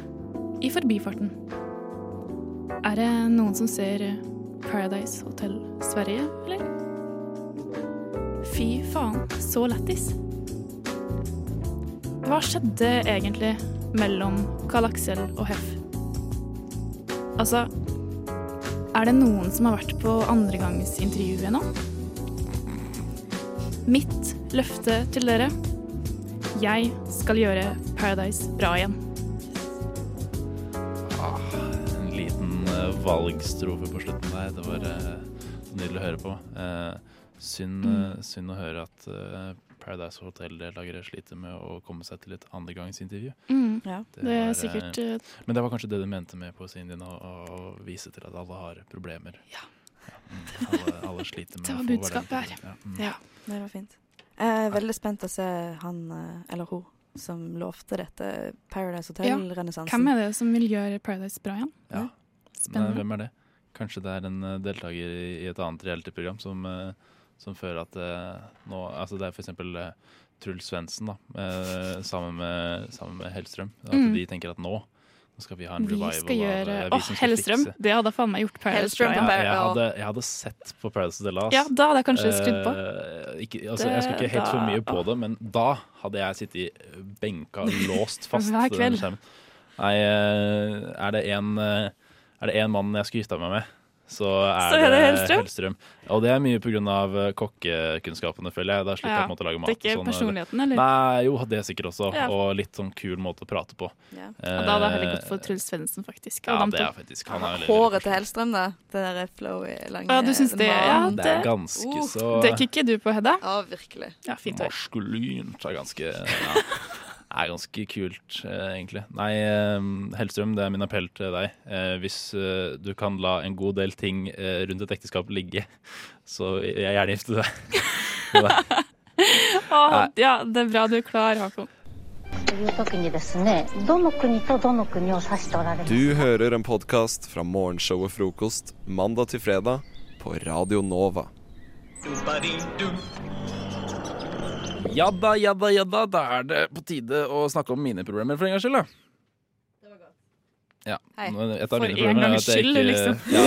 [SPEAKER 19] i forbifarten. Er det noen som ser Paradise Hotel Sverige, eller? Fy faen, så lættis. Hva skjedde egentlig mellom Karl Aksel og Hef? Altså, er det noen som har vært på andregangsintervjuet nå? Mitt løfte til dere jeg skal gjøre Paradise bra igjen.
[SPEAKER 7] Ah, en liten eh, valgstrofe på slutten der. Det var eh, så nydelig å høre på. Eh, synd,
[SPEAKER 19] Mm.
[SPEAKER 7] eh, synd å høre at eh, Paradise Hotel-deltakere sliter med å komme seg til et andregangsintervju.
[SPEAKER 19] Mm. Ja. Det er
[SPEAKER 7] eh,
[SPEAKER 19] sikkert, eh,
[SPEAKER 7] Men det var kanskje det du mente med poesien din, å, å å vise til at alle har problemer. Ja. mm, alle, alle sliter med
[SPEAKER 2] Det
[SPEAKER 7] å
[SPEAKER 2] var
[SPEAKER 7] få hverdagen
[SPEAKER 2] budskapet her.
[SPEAKER 7] til å gå mm. rundt.
[SPEAKER 2] Ja, det var fint. Jeg er veldig spent å se han eh, eller hun som lovte dette Paradise Hotel-renessansen.
[SPEAKER 19] Hvem er det som vil gjøre Paradise bra igjen?
[SPEAKER 7] Ja. Men
[SPEAKER 19] Spennende.
[SPEAKER 7] eh, hvem er det? Kanskje det er en eh, deltaker i i et annet realityprogram som, eh, som føler at eh, nå Altså det er for eksempel eh, Truls Svendsen, da, eh, sammen med, sammen med Hellstrøm. At
[SPEAKER 19] Mm.
[SPEAKER 7] de tenker at nå nå skal vi ha en
[SPEAKER 19] Vi
[SPEAKER 7] revival
[SPEAKER 19] skal
[SPEAKER 7] av
[SPEAKER 19] gjøre
[SPEAKER 7] eh, vi
[SPEAKER 19] Å,
[SPEAKER 7] som skal
[SPEAKER 19] Hellstrøm!
[SPEAKER 7] fikse-
[SPEAKER 19] Det hadde faen meg gjort Paradise bra
[SPEAKER 7] ja, jeg, hadde,
[SPEAKER 19] igjen.
[SPEAKER 7] jeg hadde sett på Paradise Hotel. ass.
[SPEAKER 19] Ja, da hadde jeg kanskje skrudd på.
[SPEAKER 7] Eh, ikke, altså, jeg skal
[SPEAKER 19] Det-
[SPEAKER 7] ikke helt for
[SPEAKER 19] da-
[SPEAKER 7] mye på det, men da hadde jeg sittet i eh, benka og låst fast.
[SPEAKER 19] Hver
[SPEAKER 7] til den
[SPEAKER 19] kveld.
[SPEAKER 7] skjermen. Nei, eh, er det en eh, Er det en mann jeg skulle gifta meg med, så er,
[SPEAKER 5] Så er det
[SPEAKER 7] det
[SPEAKER 5] Hellstrøm?
[SPEAKER 7] Hellstrøm. Og det er mye pga. eh, kokkekunnskapene, føler jeg. Da slipper
[SPEAKER 5] Ja,
[SPEAKER 7] jeg på en måte å lage
[SPEAKER 5] det
[SPEAKER 7] mat.
[SPEAKER 5] er ikke
[SPEAKER 7] og sånn, eh,
[SPEAKER 5] personligheten, eller?
[SPEAKER 7] Nei, jo, det er sikkert også.
[SPEAKER 5] Ja.
[SPEAKER 7] Og litt sånn kul måte å prate på.
[SPEAKER 5] Ja. Og da hadde jeg heller gått for
[SPEAKER 7] Eh,
[SPEAKER 5] Truls Svendsen, faktisk.
[SPEAKER 7] Ja,
[SPEAKER 5] Adam
[SPEAKER 7] det er
[SPEAKER 5] Thor.
[SPEAKER 7] faktisk han er veldig-
[SPEAKER 2] Håret til Hellstrøm, da. Det der flowy, lange
[SPEAKER 5] Ja, du syns det? Ja,
[SPEAKER 7] Det er ganske så-
[SPEAKER 5] Det kikker du på, Hedda.
[SPEAKER 2] Ja, virkelig.
[SPEAKER 5] Ja, fint hår.
[SPEAKER 7] Maskulint er ganske ja, er ganske kult, eh, egentlig. Nei, eh, Hellstrøm, det er min appell til deg. Eh, hvis eh, du kan la en god del ting eh, rundt et ekteskap ligge, så vil jeg gjerne gifte deg. Eh, Med deg.
[SPEAKER 5] Å, ja, det er bra du er klar, Håkon.
[SPEAKER 4] という時にですねどの国とどの国を指しておられますか
[SPEAKER 20] Du hører en podkast fra morgenshowet Frokost mandag til fredag på Radio Nova.
[SPEAKER 7] Ja da, ja da, ja da. Da er det på tide å snakke om mine problemer for en gangs skyld, da. Ja.
[SPEAKER 5] Hei.
[SPEAKER 7] men et av
[SPEAKER 5] For
[SPEAKER 7] mine
[SPEAKER 5] en
[SPEAKER 7] problemer er
[SPEAKER 5] gangs
[SPEAKER 7] at jeg
[SPEAKER 5] skyld,
[SPEAKER 7] ikke-
[SPEAKER 5] liksom.
[SPEAKER 7] Ja.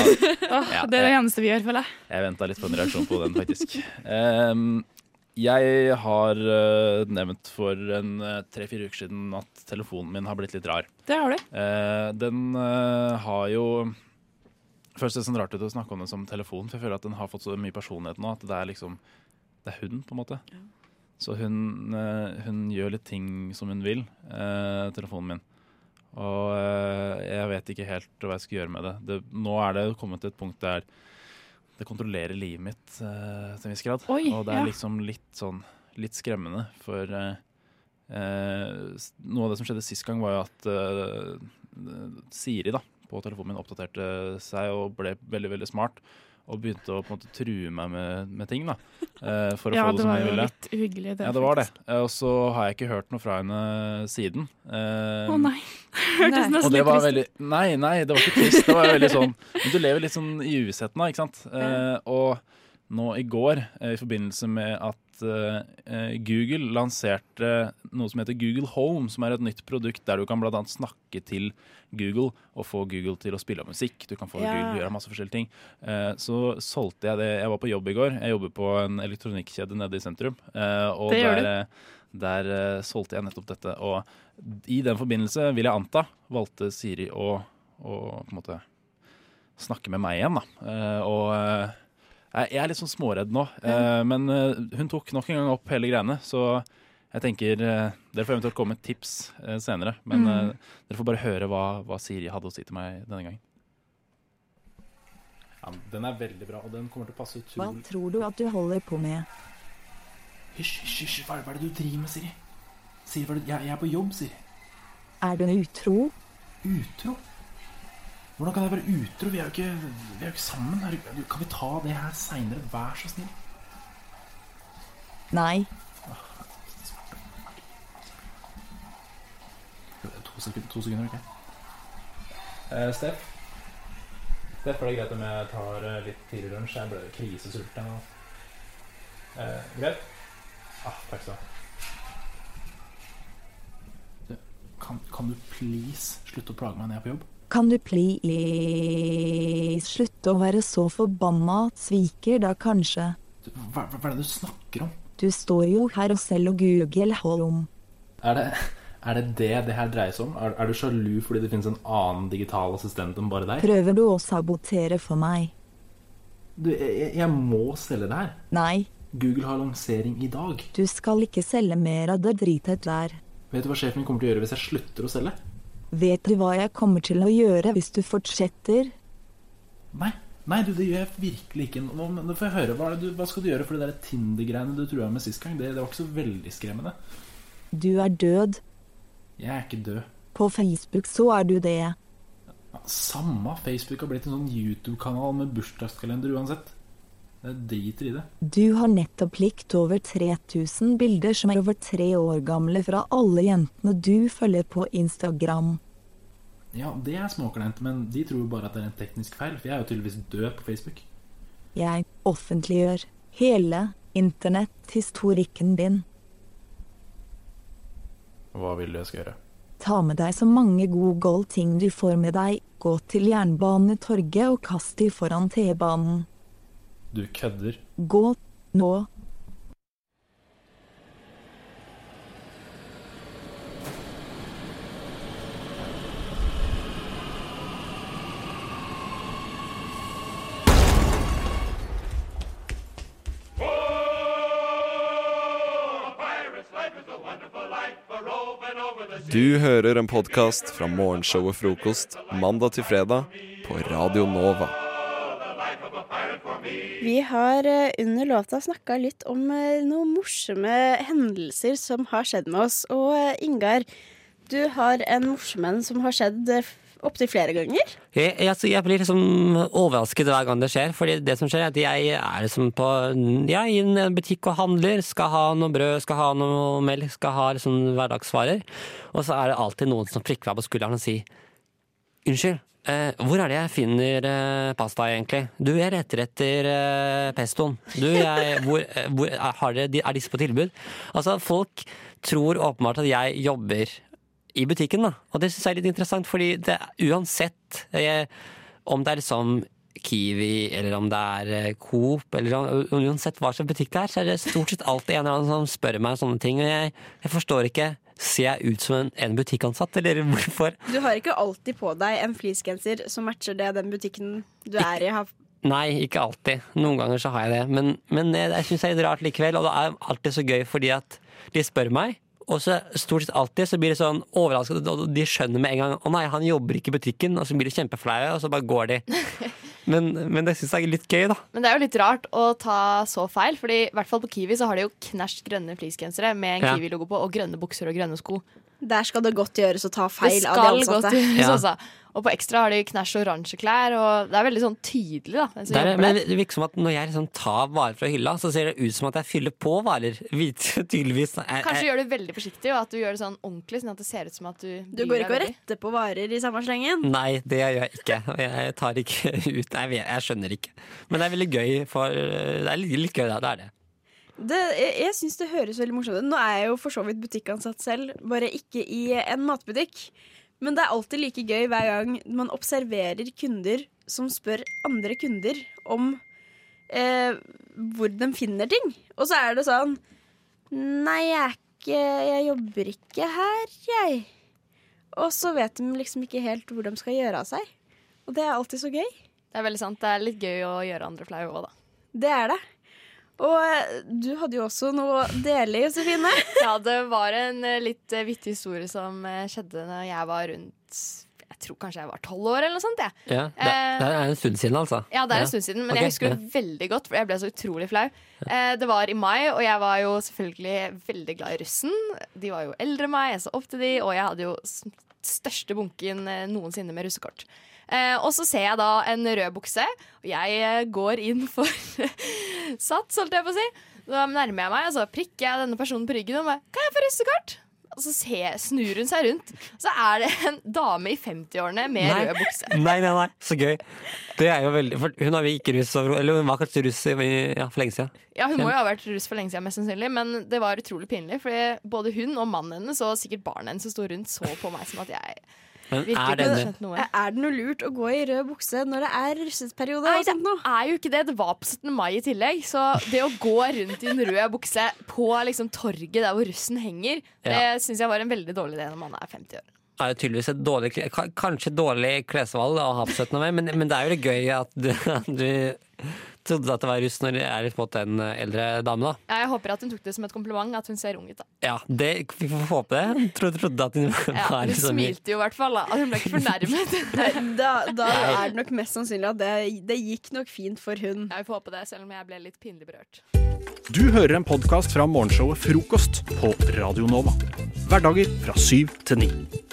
[SPEAKER 5] Åh,
[SPEAKER 7] Ja,
[SPEAKER 5] det er det
[SPEAKER 7] jeg-
[SPEAKER 5] eneste vi gjør, føler jeg.
[SPEAKER 7] Jeg venta litt på en reaksjon på den, faktisk. Ehm, jeg har eh, nevnt for en eh, tre-fire uker siden at telefonen min har blitt litt rar.
[SPEAKER 5] Det har du.
[SPEAKER 7] Eh, den eh, har jo Først det er sånn rart ut å snakke om den som telefon, for jeg føler at den har fått så mye personlighet nå at det er liksom Det er hun, på en måte. Så hun, eh, hun gjør litt ting som hun vil, eh, telefonen min. Og eh, jeg vet ikke helt hva jeg skal gjøre med det. det nå er det kommet til et punkt der det kontrollerer livet mitt eh, til en viss grad.
[SPEAKER 5] Oi,
[SPEAKER 7] og det er
[SPEAKER 5] ja.
[SPEAKER 7] liksom litt sånn litt skremmende, for eh, eh, s- noe av det som skjedde sist gang, var jo at eh, Siri da, på telefonen min oppdaterte seg og ble veldig, veldig smart. Og begynte å på en måte true meg med, med ting, da. eh, for å
[SPEAKER 5] Ja, det
[SPEAKER 7] få det som
[SPEAKER 5] var
[SPEAKER 7] jeg
[SPEAKER 5] jo
[SPEAKER 7] ville.
[SPEAKER 5] litt uhyggelig, det,
[SPEAKER 7] Ja, det var det. Eh, Og så har jeg ikke hørt noe fra henne siden. Eh,
[SPEAKER 5] Å nei. Hørtes
[SPEAKER 7] og
[SPEAKER 5] nesten
[SPEAKER 7] det
[SPEAKER 5] litt
[SPEAKER 7] var
[SPEAKER 5] trist
[SPEAKER 7] veldig, nei, nei, det var ikke trist. Det var veldig sånn Men du lever litt sånn i uvissheten, da, ikke sant? Eh, og nå i går, eh, i forbindelse med at eh, Google lanserte noe som heter Google Home, som er et nytt produkt der du kan bl.a. snakke til Google og få Google til å spille av musikk. Du kan få
[SPEAKER 5] Ja.
[SPEAKER 7] Google til å gjøre masse forskjellige ting. Eh, så solgte jeg det. Jeg var på jobb i går. Jeg jobber på en elektronikkjede nede i sentrum. Eh, og
[SPEAKER 5] Det gjør du.
[SPEAKER 7] der, eh, der eh, solgte jeg nettopp dette. Og i den forbindelse, vil jeg anta, valgte Siri å, å på en måte snakke med meg igjen, da. Eh, og eh, jeg- jeg er litt sånn småredd nå. Eh, men eh, hun tok nok en gang opp hele greiene, så jeg tenker eh, Dere får eventuelt komme med tips eh, senere, men
[SPEAKER 5] Mm.
[SPEAKER 7] eh, dere får bare høre hva, hva Siri hadde å si til meg denne gangen. den er veldig bra, og den kommer til å passe
[SPEAKER 24] Hva tror du at du holder på med?
[SPEAKER 7] Hysj, hysj, hysj, hva er det- hva er det du driver med, Siri? Siri, hva er det, jeg, jeg er på jobb, Siri.
[SPEAKER 24] Er du en utro?
[SPEAKER 7] Utro? Hvordan kan jeg være utro? Vi er jo ikke, vi er jo ikke sammen. Herregud, Kan vi ta det her seinere? Vær så snill.
[SPEAKER 24] Nei.
[SPEAKER 7] To sekunder, to sekunder ok. Eh, Steff? Steff, er det greit om jeg tar eh, litt tidlig lunsj? Jeg ble krisesulten. nå. Eh, greit? Ah, takk skal du ha. Du, Kan, kan du please slutte å plage meg når jeg er på jobb?
[SPEAKER 24] Kan du please slutte å være så forbanna sviker da, kanskje?
[SPEAKER 7] Du, Hva, hva hva er det du snakker om?
[SPEAKER 24] Du står jo her og selv og Google Home.
[SPEAKER 7] Er det, er det det det her dreier seg om? Er, er du sjalu fordi det finnes en annen digital assistent enn bare deg?
[SPEAKER 24] Prøver du å sabotere for meg?
[SPEAKER 7] Du, jeg, jeg må selge det her.
[SPEAKER 24] Nei,
[SPEAKER 7] Google har lansering i dag.
[SPEAKER 24] du skal ikke selge mer av det dritet der.
[SPEAKER 7] Vet du hva sjefen min kommer til å gjøre hvis jeg slutter å selge?
[SPEAKER 24] Vet du hva jeg kommer til å gjøre hvis du fortsetter?
[SPEAKER 7] Nei, nei du, det gjør jeg virkelig ikke. Nå, men nå får jeg høre, hva, er det du, hva skal du gjøre for det der Tinder-greiene du trua med sist gang? Det, det var ikke så veldig skremmende.
[SPEAKER 24] Du er død.
[SPEAKER 7] Jeg er ikke død.
[SPEAKER 24] På Facebook så er du det.
[SPEAKER 7] Ja, Samme Facebook har blitt en sånn YouTube-kanal med bursdagskalender uansett. Jeg driter i det.
[SPEAKER 24] Du har nettopp likt over 3000 bilder som er over tre år gamle fra alle jentene du følger på Instagram.
[SPEAKER 7] Ja, det er småkleint, men de tror jo bare at det er en teknisk feil, for jeg er jo tydeligvis død på Facebook.
[SPEAKER 24] Jeg offentliggjør hele internetthistorikken din.
[SPEAKER 7] Hva vil du jeg skal gjøre?
[SPEAKER 24] Ta med deg så mange gode gold-ting du får med deg, gå til Jernbanetorget og kast de foran T-banen.
[SPEAKER 7] Du kødder.
[SPEAKER 24] Gå nå.
[SPEAKER 20] Du hører en podkast fra morgenshowet Frokost mandag til fredag på Radio Nova.
[SPEAKER 2] Vi har eh, under låta snakka litt om eh, noen morsomme hendelser som har skjedd med oss. Og eh, Ingar, du har en morsom en som har skjedd eh, f- opptil flere ganger.
[SPEAKER 12] Jeg, jeg, altså, jeg blir liksom overrasket hver gang det skjer. Fordi det som skjer er at jeg er liksom på Jeg er i en butikk og handler. Skal ha noe brød, skal ha noe melk, skal ha liksom hverdagsvarer. Og så er det alltid noen som prikker meg på skulderen og sier Unnskyld, eh, hvor er det jeg finner eh, pasta egentlig? Du, jeg leter etter eh, pestoen. Du, jeg, hvor, eh, hvor, er, har dere, er disse på tilbud? Altså, folk tror åpenbart at jeg jobber i butikken, da. Og det syns jeg er litt interessant, fordi det, er- uansett eh, om det er liksom Kiwi, eller om det er eh, Coop, eller om- uansett hva slags butikk det er, så er det stort sett alltid en eller annen som spør meg om sånne ting. Og jeg, jeg forstår ikke. Ser jeg ut som en, en butikkansatt, eller hvorfor
[SPEAKER 2] Du har ikke alltid på deg en fleecegenser som matcher det den butikken du er i har.
[SPEAKER 12] Nei, ikke alltid. Noen ganger så har jeg det. Men, men det jeg syns det er litt rart likevel. Og det er alltid så gøy fordi at de spør meg, og så stort sett alltid så blir det sånn overrasket, og de skjønner med en gang 'Å nei, han jobber ikke i butikken', og så blir de kjempeflaue, og så bare går de. Men, men det syns jeg er litt gøy, da.
[SPEAKER 23] Men det er jo litt rart å ta så feil, Fordi i hvert fall på Kiwi så har de jo knæsj grønne fleecegensere med en
[SPEAKER 12] Ja.
[SPEAKER 23] Kiwi-logo på, og grønne bukser og grønne sko.
[SPEAKER 2] Der skal det godt gjøres å ta
[SPEAKER 23] det
[SPEAKER 2] feil av de
[SPEAKER 23] skal
[SPEAKER 2] ansatte.
[SPEAKER 23] godt gjøres,
[SPEAKER 12] Ja.
[SPEAKER 23] altså. Og på Ekstra har de knæsj oransje klær, og det er veldig sånn tydelig, da. den som
[SPEAKER 12] Det er,
[SPEAKER 23] jobber
[SPEAKER 12] men
[SPEAKER 23] der.
[SPEAKER 12] det virker som at når jeg liksom tar varer fra hylla, så ser det ut som at jeg fyller på varer. Hvit- Tydeligvis. Jeg- jeg-
[SPEAKER 23] Kanskje gjør det veldig forsiktig, og at du gjør det sånn ordentlig, sånn at det ser ut som at du
[SPEAKER 2] Du går ikke og retter på varer i samme slengen?
[SPEAKER 12] Nei, det gjør jeg ikke. Og Jeg tar ikke ut Jeg, vet, jeg skjønner ikke. Men det er veldig gøy. For, det er litt litt gøy, da. Det er det.
[SPEAKER 2] Det, jeg jeg syns det høres veldig morsomt ut. Nå er jeg jo for så vidt butikkansatt selv, bare ikke i en matbutikk. Men det er alltid like gøy hver gang man observerer kunder som spør andre kunder om eh, hvor de finner ting. Og så er det sånn Nei, jeg er ikke Jeg jobber ikke her, jeg. Og så vet de liksom ikke helt hvor de skal gjøre av seg. Og det er alltid så gøy.
[SPEAKER 23] Det er veldig sant. Det er litt gøy å gjøre andre flaue òg, da.
[SPEAKER 2] Det er det. Og eh, du hadde jo også noe å dele, Josefine.
[SPEAKER 23] Ja, det var en eh, litt eh, vittig historie som eh, skjedde når jeg var rundt Jeg tror kanskje jeg var tolv år eller noe sånt. Jeg.
[SPEAKER 12] Ja, det,
[SPEAKER 23] Eh,
[SPEAKER 12] det er en stund siden, altså.
[SPEAKER 23] Ja, det er en stund siden, men
[SPEAKER 12] Ok,
[SPEAKER 23] jeg husker det
[SPEAKER 12] ja.
[SPEAKER 23] veldig godt, for jeg ble så utrolig flau. Eh, det var i mai, og jeg var jo selvfølgelig veldig glad i russen. De var jo eldre enn meg, jeg så opp til de, og jeg hadde jo s- største bunken eh, noensinne med russekort. Eh, og så ser jeg da en rød bukse, og jeg eh, går inn for sats, holdt jeg på å si. Da nærmer jeg meg, og så prikker jeg denne personen på ryggen og bare Kan jeg få russekort? Og så ser, snur hun seg rundt, så er det en dame i 50-årene med
[SPEAKER 12] Nei.
[SPEAKER 23] rød bukse.
[SPEAKER 12] Nei, nei, nei, så gøy. Det er jo veldig for Hun er jo ikke russ, over- eller hun var kanskje russ i- ja, for lenge siden.
[SPEAKER 23] Ja, Hun må jo ha vært russ for lenge siden, mest sannsynlig, men det var utrolig pinlig. For både hun og mannen hennes og sikkert barnet hennes som sto rundt, så på meg som at jeg
[SPEAKER 12] Men
[SPEAKER 23] virkelig
[SPEAKER 12] er
[SPEAKER 23] ikke hadde
[SPEAKER 12] denne
[SPEAKER 23] skjønt noe.
[SPEAKER 2] Er det noe lurt å gå i rød bukse når det er russeperiode?
[SPEAKER 23] Nei, det er jo ikke det. Det var på 17. mai i tillegg. Så det å gå rundt i en rød bukse på liksom torget der hvor russen henger, det
[SPEAKER 12] Ja.
[SPEAKER 23] syns jeg var en veldig dårlig idé når man er 50 år.
[SPEAKER 12] er jo tydeligvis et dårlig kle- ka- Kanskje et dårlig klesvalg da, å ha på 17. mai, men, men det er jo litt gøy at du, at du trodde at det var russ når det er på en måte en eldre dame, da.
[SPEAKER 23] Ja, jeg håper at hun tok det som et kompliment at hun ser ung ut, da.
[SPEAKER 12] Ja, det, vi får håpe det. Tro- Trodde at hun
[SPEAKER 23] Ja,
[SPEAKER 12] var
[SPEAKER 23] hun
[SPEAKER 12] liksom
[SPEAKER 23] smilte jo i hvert fall, da. Hun ble ikke fornærmet.
[SPEAKER 2] Da, da er det nok mest sannsynlig at det, det gikk nok fint for hun.
[SPEAKER 23] Jeg får håpe det, selv om jeg ble litt pinlig berørt.
[SPEAKER 1] Du hører en podkast fra morgenshowet Frokost på Radio Nova. Hverdager fra syv til ni.